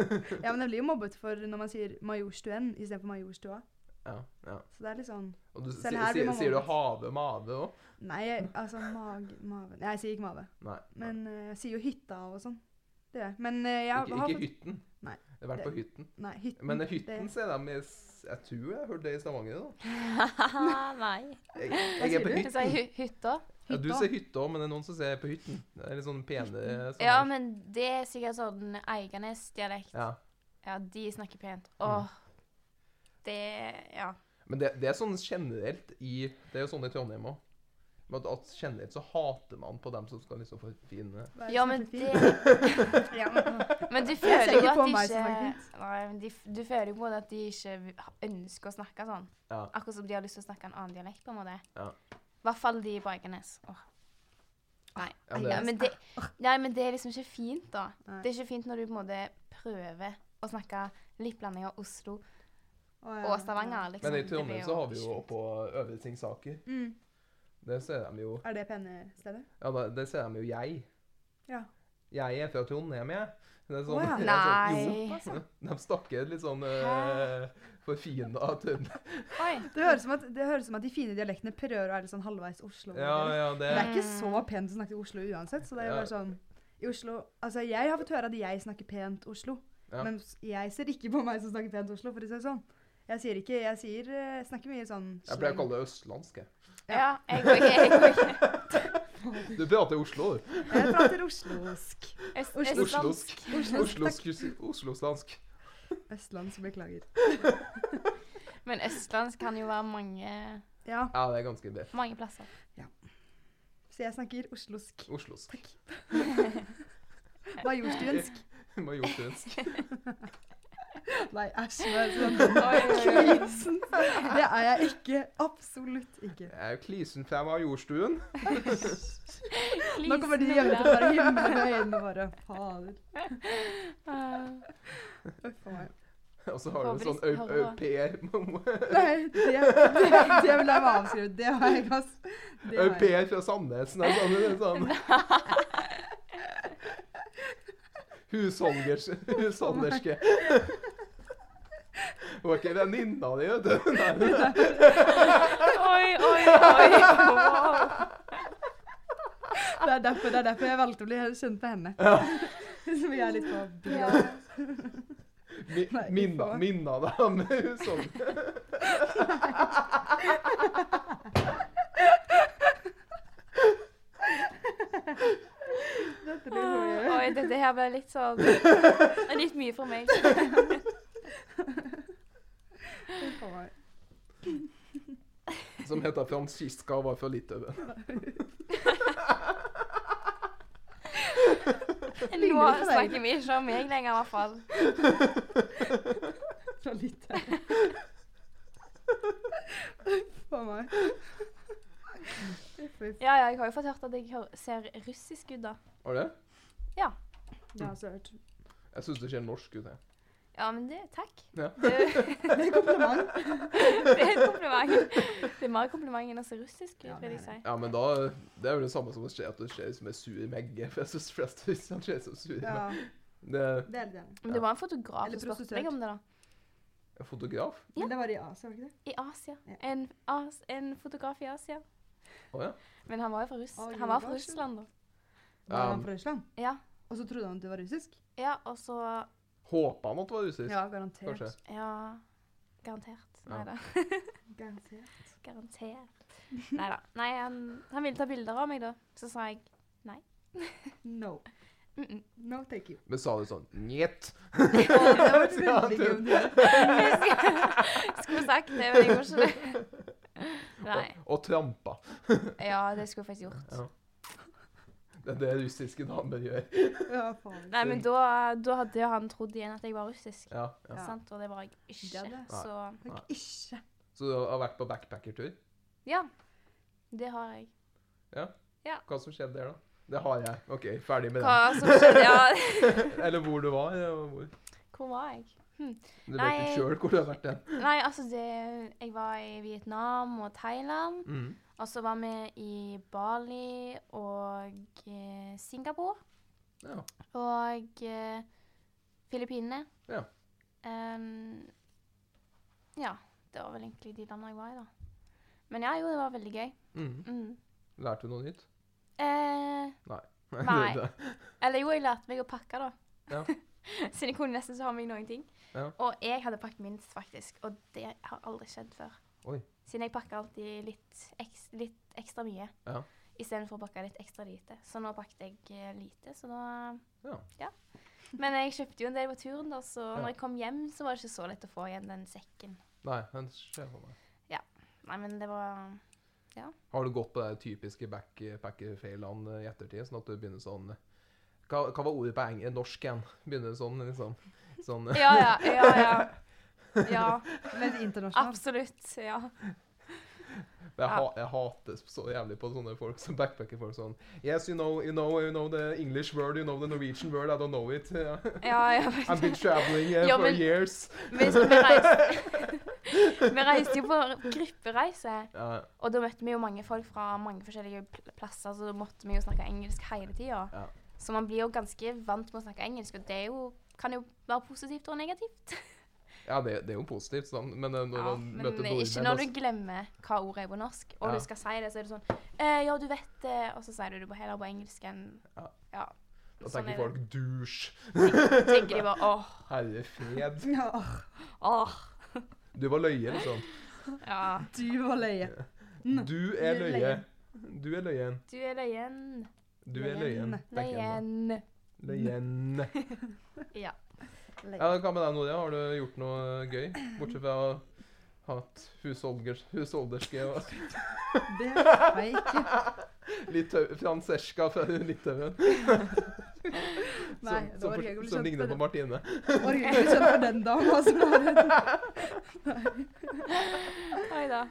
B: Ja, men jeg blir jo mobbet for når man sier Majorstuen istedenfor Majorstua.
A: Ja, ja.
B: Så det er litt sånn
A: Og du
B: Selv
A: sier,
B: her blir
A: sier,
B: man
A: sier du
B: mobbet.
A: have, mave òg?
B: Nei, jeg- altså mag, maven Nei, jeg sier ikke mave.
A: Nei. nei.
B: Men eh, jeg sier jo hytta og sånn. Det gjør jeg. Men eh, jeg har
A: ikke
B: har
A: ikke
B: fått
A: hytten.
B: Nei,
A: Jeg har vært på hytten.
B: Nei, hytten.
A: Men
B: det-
A: hytten ser de i s- Jeg tror jeg har hørt det i Stavanger. da.
C: <laughs> Nei.
A: Jeg, jeg er på
B: sier
C: Du sa
A: hytten.
C: hy- hytta.
A: Ja, du
B: Hytta.
A: ser hytta òg, men det er noen som ser på hytten. Det er litt sånn penere sånn.
C: Ja, men det er sikkert sånn Eiganes-dialekt.
A: Ja.
C: Ja, de snakker pent.
A: Mm.
C: Åh. Det Ja.
A: Men det, det er sånn generelt i Det er jo sånn i Trondheim òg. At, at generelt så hater man på dem som skal liksom forfine
B: Hva er
C: Ja,
B: som
C: men
B: heter
C: det
B: fint? Ja, men,
C: Men du
B: ser
C: føler jo
B: ikke
C: at
B: på
C: de
B: meg som
C: ikke
B: snakker fint.
C: Nei, men de, f- du føler jo på det at de ikke v- ha- ønsker å snakke sånn.
A: Ja.
C: Akkurat som de har lyst til å snakke en annen dialekt, på en måte.
A: Ja.
C: I hvert fall de på Eiganes. Åh. Nei.
A: Ja, det-
C: Nei, men det, nei, men det er liksom ikke fint, da.
B: Nei.
C: Det er ikke fint når du på en måte prøver å snakke litt blanding av Oslo
B: <laughs> Å, ja.
C: og Stavanger. liksom.
A: Men i
C: Det blir
A: Trondheim så har vi jo
C: sjukt.
A: oppå Øvre Singsaker.
B: Mm.
A: Der ser de jo
B: Er det pene stedet?
A: Ja, da- der ser de jo jeg.
B: Ja.
A: Jeg er fra Trondheim, jeg. Det er sånn,
B: Å, ja.
A: <laughs> det er sånn,
C: Nei.
A: jo. De snakker litt sånn uh, forfina tønn.
C: Oi.
B: Det høres, som at, det høres som at de fine dialektene prøver å være litt sånn halvveis Oslo.
A: Ja, ja, det
B: Men det er ikke så pent å snakke i Oslo uansett, så det er jo
A: Ja.
B: bare sånn i Oslo, altså Jeg har fått høre at jeg snakker pent Oslo.
A: Ja.
B: Men s- jeg ser ikke på meg som snakker pent Oslo, for å si det sånn. Jeg sier ikke Jeg sier, eh, snakker mye sånn
A: Jeg pleier å kalle det østlandsk. jeg.
C: Ja, jeg òg. Jeg òg.
A: Du prater Oslo, du.
B: Jeg prater oslosk.
C: Øst-
B: Oslo.
C: Østlands-
A: Oslosk.
B: Oslosk, takk.
A: Oslosk, Oslostansk.
B: Østlandsk, beklager.
C: Men østlandsk kan jo være mange,
B: Ja,
A: Ja, det er ganske bredt.
C: mange <laughs> plasser.
B: så jeg snakker oslosk.
A: Oslosk.
B: Takk.
A: <laughs>
B: Majorstuensk.
A: Majorstuen.
B: Nei, æsj. hva er det som- Krisen. Det er jeg ikke. Absolutt ikke.
A: Jeg er jo klisen fra Majorstuen.
B: Nå kommer de hjemme til å bare himle med øynene bare Fader. Uff a meg.
A: <laughs> Og så har du en sånn
C: Håper
A: au-
C: de
A: au
C: hører
A: <laughs> pair
B: Nei, det, det, det vil jeg være avskrevet. Det har jeg, ass. Det
A: Au
B: har jeg.
A: pair fra Sandnes. Nei, sånn, det er
B: <laughs>
A: sånn. Husholders, husholderske. Hun er ikke venninna di, vet du. Nei.
C: <laughs> Oi,
B: <laughs>
C: oi, oi. Wow.
B: Det er derfor, det er derfor jeg valgte å bli kjent med henne. <laughs> Som jeg er litt på
C: Ja.
A: Mi-
B: Nei,
A: Minna,
B: faen.
A: minna deg om husholder.
B: Dette blir så gøy.
C: Oi, dette her ble litt sånn Litt mye for meg.
B: Uff a meg.
A: Som heter Franziska og var fra Litauen.
C: Nå snakker vi ikke om meg lenger, i hvert fall.
B: Fra litt her. Uff a meg. Uff, uff.
C: Ja, ja, jeg har jo fått hørt at jeg hø- ser russisk ut, da.
A: Var det?
B: Det har jeg også hørt.
A: Jeg syns det ser norsk ut. jeg.
C: Ja, men det Takk.
A: Ja.
C: Det,
B: Det er kompliment.
C: det er et kompliment. Det er mer kompliment enn å se russisk ut,
B: Ja,
C: vil
B: det
C: jeg
B: er
C: si.
A: Ja, men da, Det er jo det samme som å se at du ser ut som en sur megge. For jeg syns flest russere ser ut som sure
B: Ja,
A: megger. Det er
B: det er litt gjerne.
C: Men det var en fotograf
B: Eller
C: som spurte
B: prostituert.
C: meg om det, da.
A: en fotograf.
B: Men det var i Asia, var det ikke det?
C: I Asia.
B: Ja.
C: En, as, en fotograf i Asia.
A: Å ja.
C: Men han var jo fra, Russ
B: Å,
C: han var fra
B: Jordan.
C: Russland, da.
B: Var han
A: Um,
B: fra Russland?
C: Ja.
B: Og så trodde han at det var russisk?
C: ja, og så
A: Håpa han at det var russisk?
B: Ja, garantert.
A: Kanskje.
C: Ja, garantert.
A: Ja.
C: Nei da.
B: Garantert.
C: <laughs> Garantert. Nei da. Nei, han, han ville ta bilder av meg, da. Så sa jeg
B: No.
C: mm -mm.
B: No,
A: <laughs>
B: thank you.
A: Men sa du sånn Njet.
B: Det var et veldig gøy om du gjør.
C: <laughs> Skulle sagt det, men jeg gjorde ikke det. <laughs> Nei.
A: Og, og trampa.
C: Ja, det skulle jeg faktisk gjort.
A: Ja. Det er det russiske damer gjør.
B: Ja, faen.
C: Nei, men da, da hadde jo han trodd igjen at jeg var russisk.
A: Ja, ja.
B: Ja.
C: Sant? Og det var jeg
B: Det
C: ikke.
B: hadde-
C: Så
B: Takk, Ikke.
A: Så du har vært på backpackertur?
C: ja. Det har jeg.
A: Hva som skjedde der, da? Det har jeg. OK, ferdig med
C: Hva som skjedde? Ja,
A: den. <laughs> Eller hvor du var. Ja, hvor.
C: hvor var jeg?
A: Du vet
C: Nei.
A: ikke sjøl hvor du har vært hen.
C: Nei, altså det Jeg var i Vietnam og Thailand.
A: Mm.
C: Og så var vi i Bali og eh, Singapore
A: Ja.
C: og eh, Filippinene.
A: Ja.
C: Em, ja, det var vel egentlig de landene jeg var i, da. Men ja, jo, det var veldig gøy.
A: Mm.
C: Mm.
A: Lærte du noe nytt?
C: Eh, Nei.
A: Nei.
C: eller jo, jeg lærte meg å pakke, da.
A: Ja.
C: <laughs> Siden jeg kunne nesten så ha med meg noen ting.
A: Ja.
C: Og jeg hadde pakket minst, faktisk. Og det har aldri skjedd før.
A: Oi.
C: Siden jeg pakker alltid litt, eks, litt ekstra mye.
A: Ja.
C: Istedenfor å pakke litt ekstra lite. Så nå pakket jeg eh, lite, så da
A: Ja.
C: Men jeg kjøpte jo en del på turen, da, så
A: Ja.
C: når jeg kom hjem, så var det ikke så lett å få igjen den sekken.
A: <laughs> Nei, den skjer for meg.
C: Nei, men det var
A: Har du gått på de typiske backpacker-feilene i ettertid? Sånn at du begynner sånn Hva, hva var ordet på eng- norsk igjen? Begynner sånn, liksom. Sånn
C: Ja, ja, ja. ja. <laughs> Ja,
B: Men internasjonalt.
C: absolutt. Ja.
A: Jeg, ha, jeg hater så jævlig på sånne folk som backpacker folk sånn Yes, you know, you know, you know the English word, you know the Norwegian word, I don't know it. <laughs> Yeah.
C: ja, ja.
A: I've been traveling eh,
C: Ja,
A: for
C: men-
A: years.
C: Vi, vi, reiste, <laughs> vi reiste jo på gruppereise,
A: Ja,
C: og da møtte vi jo mange folk fra mange forskjellige pl- plasser, så da måtte vi jo snakke engelsk hele tida.
A: Ja.
C: Så man blir jo ganske vant med å snakke engelsk, og det er jo, kan jo være positivt og negativt.
A: ja det, det er jo positivt, sånn. men eh, når
C: Ja,
A: man
C: men
A: møter
C: ikke
A: nordmenn
C: når du
A: altså-
C: glemmer hva ordet er på norsk, og
A: Ja.
C: du skal si det, så er det sånn eh, Ja, du vet det, og så sier du det på heller på engelsk enn
A: Ja.
C: ja.
A: Da
C: Sånn
A: tenker
C: er
A: folk dusj.
C: Tenker de bare åh,
A: Herre fred.
B: Ja,
A: <laughs>
C: åh.
A: Du var løye, liksom.
C: Ja.
B: du var løye. Mm.
A: Du er
B: Du er
A: løye. Du er løyen.
C: Du er løyen.
A: Du er løyen.
B: Løyen.
A: tenker jeg da.
C: Løyen.
A: Løyen.
C: Ja.
A: Ja, Hva med deg, Noria? Har du gjort noe gøy? Bortsett fra å ha hatt husholders- husholderske og
B: Det var jeg
A: <laughs>
B: ikke.
A: Litau- Francesca fra Litauen.
B: Nei,
A: som,
B: det
A: som,
B: var
A: for-
B: gøy å bli
A: som
B: kjent
A: ligner
B: med
A: på
B: den.
A: Martine.
B: Orker ikke bli kjent med den dama som har en
C: <laughs> Oi da.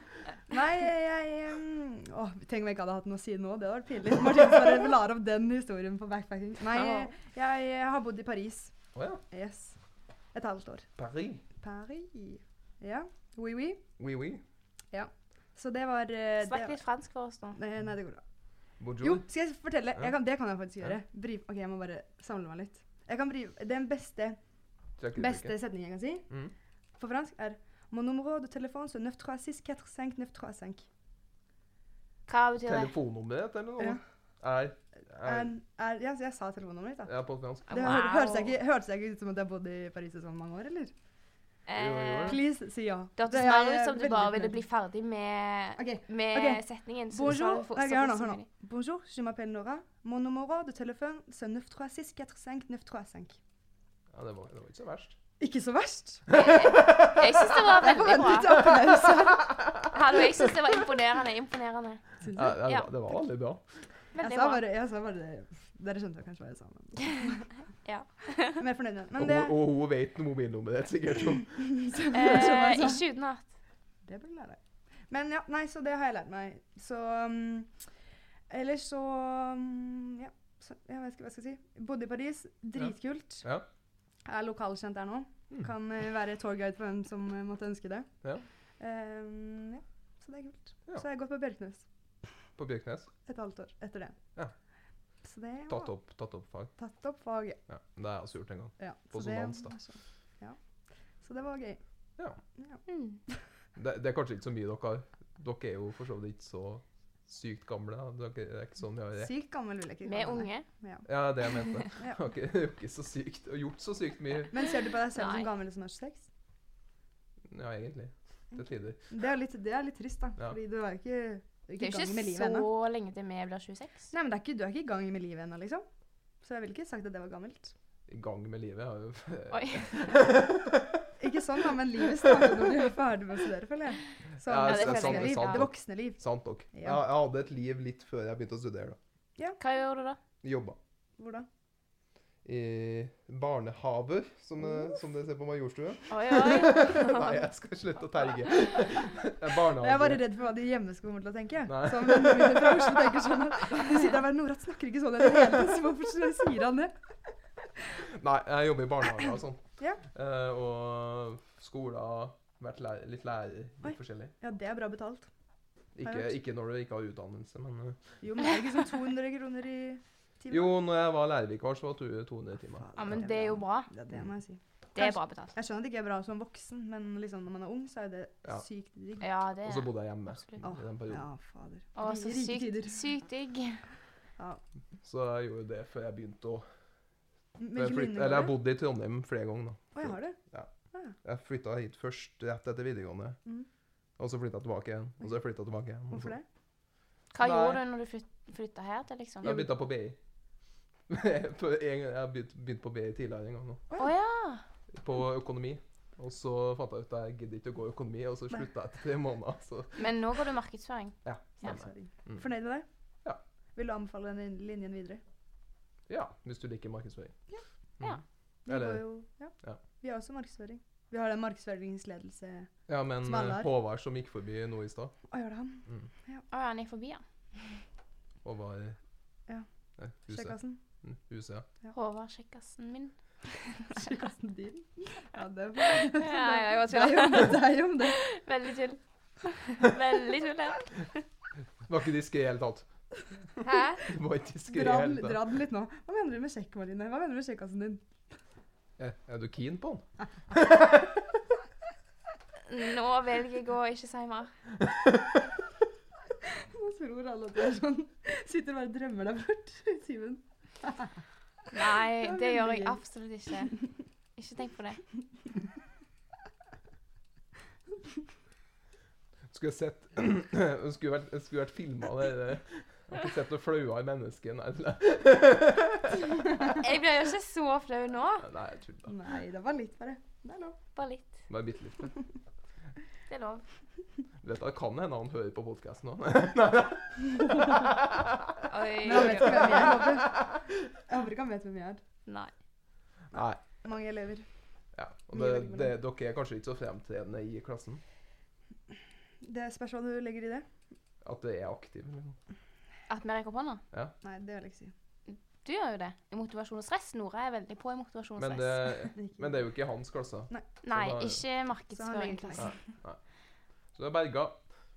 B: Nei, jeg, jeg um, åh, Tenk om jeg ikke hadde hatt noe å si nå. Det hadde vært pinlig. Martin bare lar opp den historien på backpacking. Nei,
C: Ja.
B: jeg, jeg har bodd i Paris.
A: Å ja.
B: Yes. Et halvt år.
A: Paris.
B: Paris. Ja. Oui, oui.
A: Oui, oui.
B: Så det var eh, det
C: Snakk
B: var-
C: litt fransk for oss nå.
B: Nei, nei, det går bra.
A: Bonjour.
B: Jo, skal jeg fortelle?
A: Ja.
B: Jeg kan, det kan jeg faktisk
A: Ja.
B: gjøre. Bri, ok, Jeg må bare samle meg litt. Jeg kan bri, den beste,
A: Trekk ut
B: beste
A: blikket.
B: setningen jeg kan si
A: Mm.
B: på fransk, er Mon numéro de téléphone c'est 936-45935.
C: Hva betyr det?
A: Telefonnummeret ditt eller noe?
B: Ja.
A: Er, er,
B: Er- er- Ja, så jeg sa telefonnummeret mitt, da.
A: Ja, på fransk.
B: Det
C: Wow.
B: hør, hørtes jeg ikke, hørtes jeg ikke ut som at jeg bodde i Paris i så mange år, eller?
A: Jo,
C: Eh,
B: Please, si ja.
C: det hørtes
B: er
C: mer
B: jeg
C: ut som du
B: veldig
C: bare ville
B: fornøyd
C: bli
B: med.
C: ferdig med,
B: Ok,
C: med
B: ok.
C: setningen. så du sa
B: Bonjour,
C: det fort-
B: ok,
C: så
B: hør nå,
C: fort som
B: hør nå.
C: mulig.
B: Bonjour, je m'appelle Nora. Mon numéro de téléphone, c'est 936-45935.
A: Ja, det var, det var ikke så verst.
B: Ikke så verst.
C: Jeg syns det
B: <laughs>
C: var
B: Jeg
C: veldig
B: forventet
C: bra. <laughs>
B: applaus her.
C: Hallo, jeg syns det var imponerende. Imponerende.
B: Synes
A: Ja,
B: jeg.
A: det,
C: Ja.
A: var- det var veldig bra.
B: Jeg
C: Veldig
B: sa
C: bra.
B: bare, jeg sa bare det. Dere skjønte jo kanskje hva jeg sa. Men.
C: <laughs> Ja.
B: Men jeg er fornøyd med det.
A: Og,
B: Men det,
A: hun- og hun vet mobilnummeret ditt sikkert.
B: <laughs>
A: så-
C: Eh,
B: jeg sa.
C: ikke utenat.
B: det burde du lære deg. Men ja, nei, så det har jeg lært meg. Så um, Ellers så um, Ja, så, jeg vet ikke hva jeg skal si. Bodde i Paris. Dritkult.
A: Ja.
B: Er lokalkjent der nå.
A: Mm.
B: Kan eh, være tourguide for hvem som eh, måtte ønske det.
A: Ja.
B: Um, ja, så det er kult.
A: Ja.
B: Så har jeg gått på Bjørknes
A: På Bjørknes.
B: et halvt år etter det.
A: Ja.
B: Så det ja,
A: Tatt opp, tatt opp fag.
B: tatt opp faget.
A: Ja, det har jeg også gjort en gang.
B: Ja,
A: På
B: så det-
A: Sonans, da.
B: så- Ja. Så det var gøy.
C: Mm.
A: Det, det er kanskje ikke så mye dere har. Dere er jo for så vidt ikke så sykt gamle. da. Dere det er ikke sånn vi har
B: Sykt gammel vil jeg ikke
C: Vi er
B: kalle meg.
C: unge.
B: Ja.
A: Ja, det jeg mente.
B: <laughs> Ja.
A: Dere er jo ikke så sykt, og gjort så sykt mye.
B: Men ser du på deg selv
C: Nei.
B: som gammel som er 26?
A: Ja, egentlig. Til tider.
B: Det er litt, det er litt trist, da.
A: Ja.
B: Fordi du er jo ikke, du er
C: Det
B: ikke i
C: er
B: gang med
C: ikke
B: livet ennå.
C: så lenge til vi blir 26.
A: <laughs>
B: Nei, men det er ikke, du er ikke i gang med livet ennå, liksom. Så jeg ville ikke sagt at det var gammelt.
A: I gang med livet. Jeg har jo
C: Oi.
B: Ikke sånn, da, men livet starter når du er ferdig med å studere, føler jeg. Så
A: Ja,
B: det,
C: det er
B: voksne
C: sant, det er
B: liv,
C: sant.
B: det voksne liv.
A: <laughs> Sant nok.
B: Ja.
A: Jeg, jeg hadde et liv litt før jeg begynte å studere. da.
C: Hva gjorde du da?
A: Jobba
B: Hvordan?
A: i barnehaver, som det, som det ser på
B: <laughs>
A: Majorstuen.
C: Oi, oi.
A: <laughs> Nei, jeg skal slutte å terge. <laughs> Barnehaver.
B: Jeg er bare redd for hva de hjemme skulle komme til å tenke.
A: Nei.
B: Som vennene mine fra Oslo tenker sånn at de sitter der og bare Nora snakker ikke sånn i det hele tatt, så hvorfor sier han det?
A: Nei, jeg jobber i barnehage og sånn.
B: <clears throat> Ja.
A: Eh, og skoler, vært lærer, litt lærer, litt
B: Oi.
A: forskjellig.
B: Ja, det er bra betalt.
A: Ikke,
B: hørt.
A: ikke når du ikke har utdannelse, men eh.
B: Jo, men er det ikke sånn 200 kroner i timen?
A: Jo, når jeg var lærervikar, så var det 200 timer.
C: Ja, men det er jo bra.
B: Ja, det må jeg si.
C: Det er bra betalt.
B: Jeg skjønner at det ikke er bra som voksen, men liksom når man er ung, så er det
A: Ja.
B: sykt digg.
C: Ja, det
A: Og så
C: er
A: bodde jeg hjemme
C: Absolutt.
B: Åh,
A: i den perioden.
B: ja, fader.
C: Å, så
B: Rike tider.
C: sykt, sykt digg.
B: Ja.
A: Så jeg gjorde det før jeg begynte å
B: Men
A: jeg
B: ikke
A: flytt-
B: begynne
A: Eller jeg
B: med det?
A: bodde i Trondheim flere ganger, da.
B: Å, jeg har det.
A: Jeg flytta hit først rett etter videregående.
B: Mhm.
A: Og så flytta jeg tilbake igjen. Og så flytta jeg tilbake igjen. og så-
B: Hvorfor det?
C: Hva
A: Nei.
C: gjorde du når du flytta her til, liksom?
A: Jeg begynte på <laughs> BI. På en gang- jeg har begynt, begynt på BI tidligere en gang nå.
C: Å ja.
A: På økonomi. Og så fant jeg ut at jeg gidder ikke å gå økonomi, og så
B: Nei.
A: slutta jeg etter tre måneder. Så
C: Men nå går du markedsføring.
A: ja,
C: Ja.
A: stemmer.
B: Sorry.
A: Mm.
B: Fornøyd med det?
A: Ja.
B: Vil du anbefale den linjen videre?
A: Ja, hvis du liker markedsføring.
C: Ja.
B: Vi
A: Eller-
B: går jo, ja.
A: Ja.
B: Vi har også markedsføring. Vi har den markedsføringsledelse Å,
A: Ja, men
B: Som alle
A: eh,
B: har.
A: Håvard som gikk forbi nå i stad,
B: gjør det han?
A: mm.
C: Å ja, han gikk forbi, ja.
A: og var i
B: Ja.
A: Nei, huset.
B: Sjekkassen?
A: Mm, huset ja.
C: Håvard Sjekkassen <laughs> min.
B: Sjekkassen din? Ja, det er
C: Ja, ja, jeg var
B: Det er jo
C: tull.
B: om det. det er jo om det.
C: <laughs> Veldig tull. Veldig tull, ja.
A: Var ikke diskré i det hele tatt.
C: Hæ?
A: Det var ikke diskré i det
B: Dra den,
A: hele tatt.
B: dra den litt nå. Hva mener du med sjekk, Marline? Hva mener du med sjekkassen din?
A: Er, er du keen på han?
C: <laughs> Nå velger jeg å ikke si mer.
B: Nå tror alle at jeg er sånn Sitter og bare drømmer deg bort. Simen.
C: Nei,
B: Det er
C: det gjør
B: veldig
C: jeg
B: gøy.
C: absolutt ikke. Ikke tenk <laughs> på det.
A: Skulle jeg sett <clears throat> Det Skulle vært, det skulle vært filma, det der. Jeg har ikke sett noe flauere menneske. Nei, nei,
C: Jeg blir jo ikke så flau nå.
A: nei jeg tuller.
B: Nei, det var litt bare. Det er lov.
C: Bare litt.
A: Bare bitte litt.
C: Det er lov.
A: Du vet, det kan hende han hører på podkasten <laughs> òg.
C: Oi.
B: Men han vet ikke hvem jeg er. håper jeg. Jeg håper ikke han vet hvem jeg er.
C: Nei.
A: Nei.
B: Mange elever.
A: Ja. Og det, det, dere er kanskje ikke så fremtredende i klassen?
B: Det spørs hva du legger i det.
A: At det er aktiv? liksom.
C: At vi rekker opp hånda?
B: Nei, det vil jeg ikke si.
C: Du gjør jo det. I motivasjon og stress. Nora er veldig på i motivasjon og
A: Men
C: stress.
A: det,
B: Ikke-
A: men det er jo ikke hans klasse.
C: Nei,
A: Så da-
C: ikke
B: Så han legger
C: markedsføring.
B: ikke
C: klasse.
B: merke.
A: Så det er berga.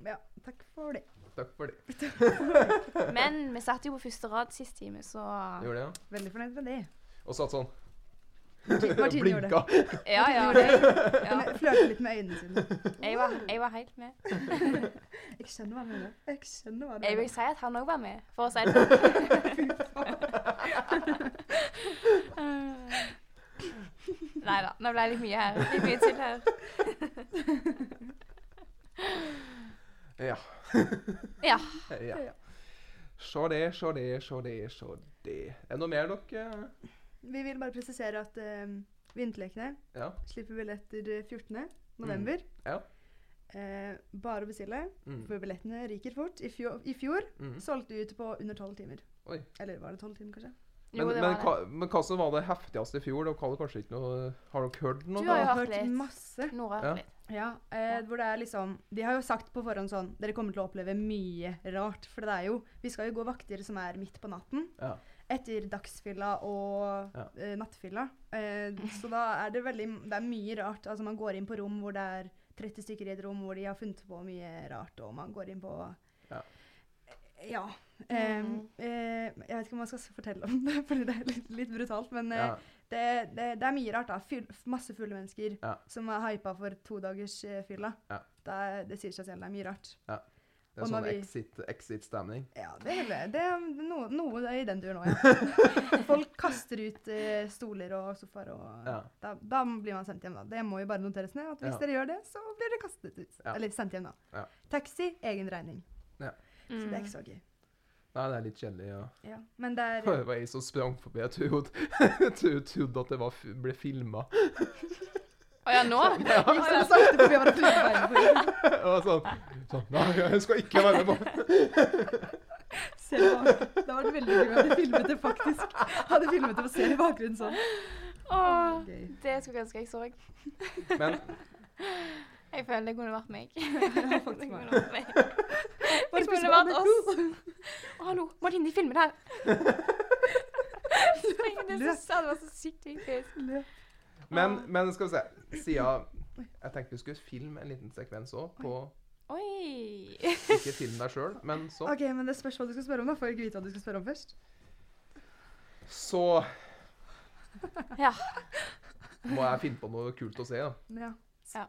B: Ja, takk for det.
A: Takk for det. <laughs>
C: Men vi satt jo på første rad sist time, så
A: Gjorde det, ja.
B: Veldig fornøyd med det.
A: Og satt sånn.
B: Martine gjorde
A: Blinka.
C: Ja, ja.
B: Gjorde
C: Jeg,
B: det.
C: ja.
B: Men Flørte litt med øynene sine.
C: jeg, var, jeg var helt med.
B: Jeg skjønner hva du mener. Jeg skjønner hva du
C: Jeg vil
B: mener.
C: si at han òg var med, for å si det <laughs> sånn. Nei da. Nå ble det litt mye her. Litt mye til her.
A: Ja.
C: Ja.
A: ja. Se det, se det, se det, se det. Er det noe mer dere
B: Vi vil bare presisere at uh, Vinterlekene
A: Ja. Mm.
B: slipper billetter eh, 14. november.
A: Ja.
B: Eh, bare å bestille,
A: Mm.
B: for billettene ryker fort. I fjor, i fjor
A: Mm.
B: solgte vi ut på under tolv timer.
A: Oi.
B: Eller var det tolv timer, kanskje?
C: Jo,
A: Men,
C: det
A: men,
C: var det.
A: hva, men hva som var det heftigste i fjor? Og hva det kanskje ikke noe, har dere hørt noe?
C: Du har
A: da?
C: jo
B: Jeg
C: hørt litt.
B: masse.
C: Nora
A: Ja.
C: hørte litt.
B: Ja, eh,
C: Ja.
B: hvor det er liksom De har jo sagt på forhånd sånn Dere kommer til å oppleve mye rart. For det er jo Vi skal jo gå vakter som er midt på natten.
A: Ja.
B: Etter dagsfylla og
A: Ja.
B: eh, nattfylla. Eh, så da er det veldig Det er mye rart. Altså, man går inn på rom hvor det er 30 stykker i et rom hvor de har funnet på mye rart, og man går inn på
A: Ja.
B: Ja. Eh,
C: Mhm.
B: eh, jeg vet ikke om man skal s- fortelle om det, <laughs> fordi det er litt, litt brutalt, men eh,
A: Ja.
B: det, det, det er mye rart, da. Fyll, f- masse fulle mennesker
A: Ja.
B: som er hypa for to dagers eh, fylla.
A: Ja.
B: Det, er- det sier seg selv, det er mye rart.
A: Det er
B: Og når
A: sånn
B: vi-
A: exit- exit-stemning.
B: Ja, det er, vel- det er noe, noe i den duren òg,
A: <laughs>
B: ja. Folk kaster ut eh, stoler og sofaer, og
A: Ja.
B: da, da blir man sendt hjem, da. Det må jo bare noteres ned, at hvis
A: Ja.
B: dere gjør det, så blir dere kastet ut.
A: Ja.
B: Eller sendt hjem, da.
A: Ja.
B: Taxi, egen regning. Så det er
C: Mm.
B: ikke så gøy.
A: Nei, det er litt kjedelig. Ja.
B: Ja. Men det
A: <laughs>
B: er eh,
A: Det var ei som sprang forbi. Jeg trodde, <laughs> jeg trodde at det var, f- ble <laughs> filma.
C: Å
A: <laughs>
C: ja, nå?
B: Gikk så sakte forbi hverandre på beina for
A: Sånn, sånn, nei, jeg skal ikke være med på
B: Selv om- Da var det veldig gøy at de filmet det faktisk. Hadde filmet det på se i bakgrunnen sånn.
C: Åh,
B: Gøy.
C: det skulle jeg ønske jeg så.
A: Men <laughs>
C: Jeg føler <laughs> det kunne vært meg.
B: Ja,
C: Det
B: faktisk meg.
C: kunne vært meg. Det kunne vært oss. <laughs> Å, hallo, Martine, de filmer det <laughs> her. Spreng det, så sa det var så sykt typisk.
A: Men, men skal vi se. Siden Jeg tenkte vi skulle filme en liten sekvens òg. på-
C: Oi.
A: Ikke film deg sjøl, men sånn.
B: Ok, men det spørs hva du skal spørre om, da. Får jeg ikke vite hva du skal spørre om først.
A: Så
C: Ja.
A: må jeg finne på noe kult å se. Da.
B: Men Ja.
C: Ja.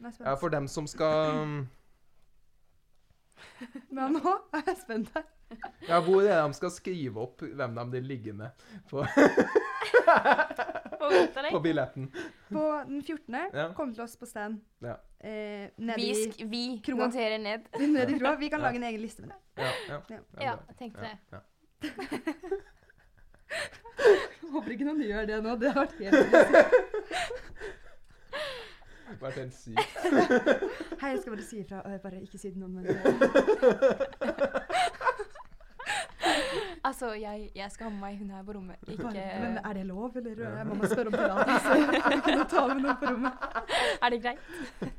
B: Nå er jeg spent.
A: Ja, for dem som skal
B: Men nå er jeg spent her.
A: Ja, hvor er det de skal skrive opp hvem de blir liggende
C: Får vi vite
A: på
C: deg?
A: billetten?
B: På den 14.
A: Ja.
B: kom til oss på stand.
A: Ja.
B: Eh, nede,
C: Vi,
B: i,
C: sk vi
B: Kroa.
C: noterer ned.
B: <laughs> nede i kroa. Vi kan
A: Ja.
B: lage en egen liste med det.
A: Ja, ja,
B: Ja.
A: ja,
C: Ja, tenkte det.
A: ja.
B: <laughs> Håper ikke noen gjør det nå. Det har vært helt
A: Vært helt sykt.
B: Hei, jeg skal bare si ifra. Øh, Bare ikke si det noen, men eh,
C: Altså, jeg, jeg skal ha med meg hun her på rommet. Ikke
B: bare, Men er det lov, eller?
A: Ja.
B: Jeg må bare spørre om <laughs> tillatelse. Kan du ta med noen på rommet?
C: Er det greit?
B: Jeg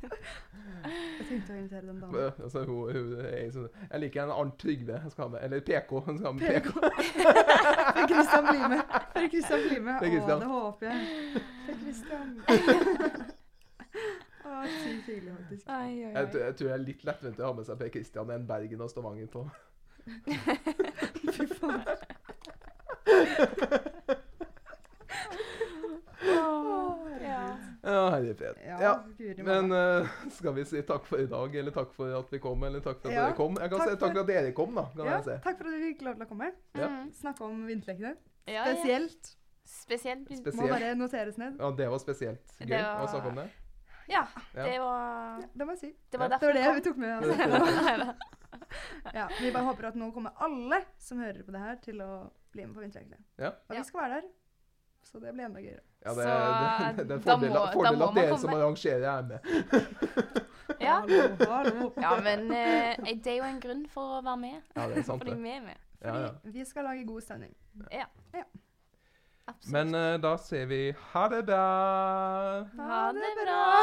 B: tenkte å invitere den damen.
A: Altså, hun, hun er i sånn Jeg liker en annen Trygve. Han skal ha med, eller PK. Han skal ha med PK. <laughs>
B: For Christian blir med. For Christian blir med.
A: For
B: Å,
A: Christian.
B: det håper jeg. For Christian. <laughs> Å, sykt hyggelig,
C: <laughs>
B: faktisk.
C: Oi, oi,
A: Jeg,
C: oi.
A: tror- jeg tror det er litt lettvint å ha med seg Per Kristian enn Bergen og Stavanger på.
B: Fy faen.
C: Åh, ja.
A: Ja, herre fred.
B: Ja,
A: Ja,
B: guri
A: men
B: malla.
A: eh, <laughs> skal vi si takk for i dag, eller takk for at vi kom, eller takk for at
B: Ja,
A: dere kom? Jeg kan
B: takk
A: si takk
B: for-
A: for at dere kom, da. kan
B: ja,
A: jeg si.
B: Takk for at du fikk lov til å komme.
A: Ja.
C: Mm.
B: Snakke om vinterlekene.
C: Ja, ja.
B: Spesielt.
C: Spesielt.
B: Må
A: Spesielt.
B: bare noteres ned.
A: Ja, det var spesielt
C: Det
A: gøy
C: var-
A: å snakke om det.
C: Ja,
A: Ja.
C: det var
B: Ja, det må jeg si.
C: Det var
A: Ja.
B: Det
C: derfor
B: var det vi
C: det
B: tok med. oss.
C: <laughs> kom.
B: Ja, vi bare håper at nå kommer alle som hører på det her, til å bli med på vinterregelen.
A: Ja.
B: Og vi
C: Ja.
B: skal være der, så det blir enda gøyere.
A: Ja, det, <laughs>
C: Så,
A: det, det er en
C: da
A: fordel,
C: må- da
A: fordel
C: må
A: at
C: man
A: dere som
C: komme.
A: arrangerer, er med.
C: Ja.
B: Hallo, hallo.
C: ja, men eh, det er jo en grunn for å være med.
A: Ja, det er sant,
C: Fordi
A: det.
C: vi er med.
A: Ja, ja.
B: Vi skal lage god stemning.
C: Absolutt.
A: Men eh, da sier vi ha det bra!
C: ha det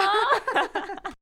C: bra!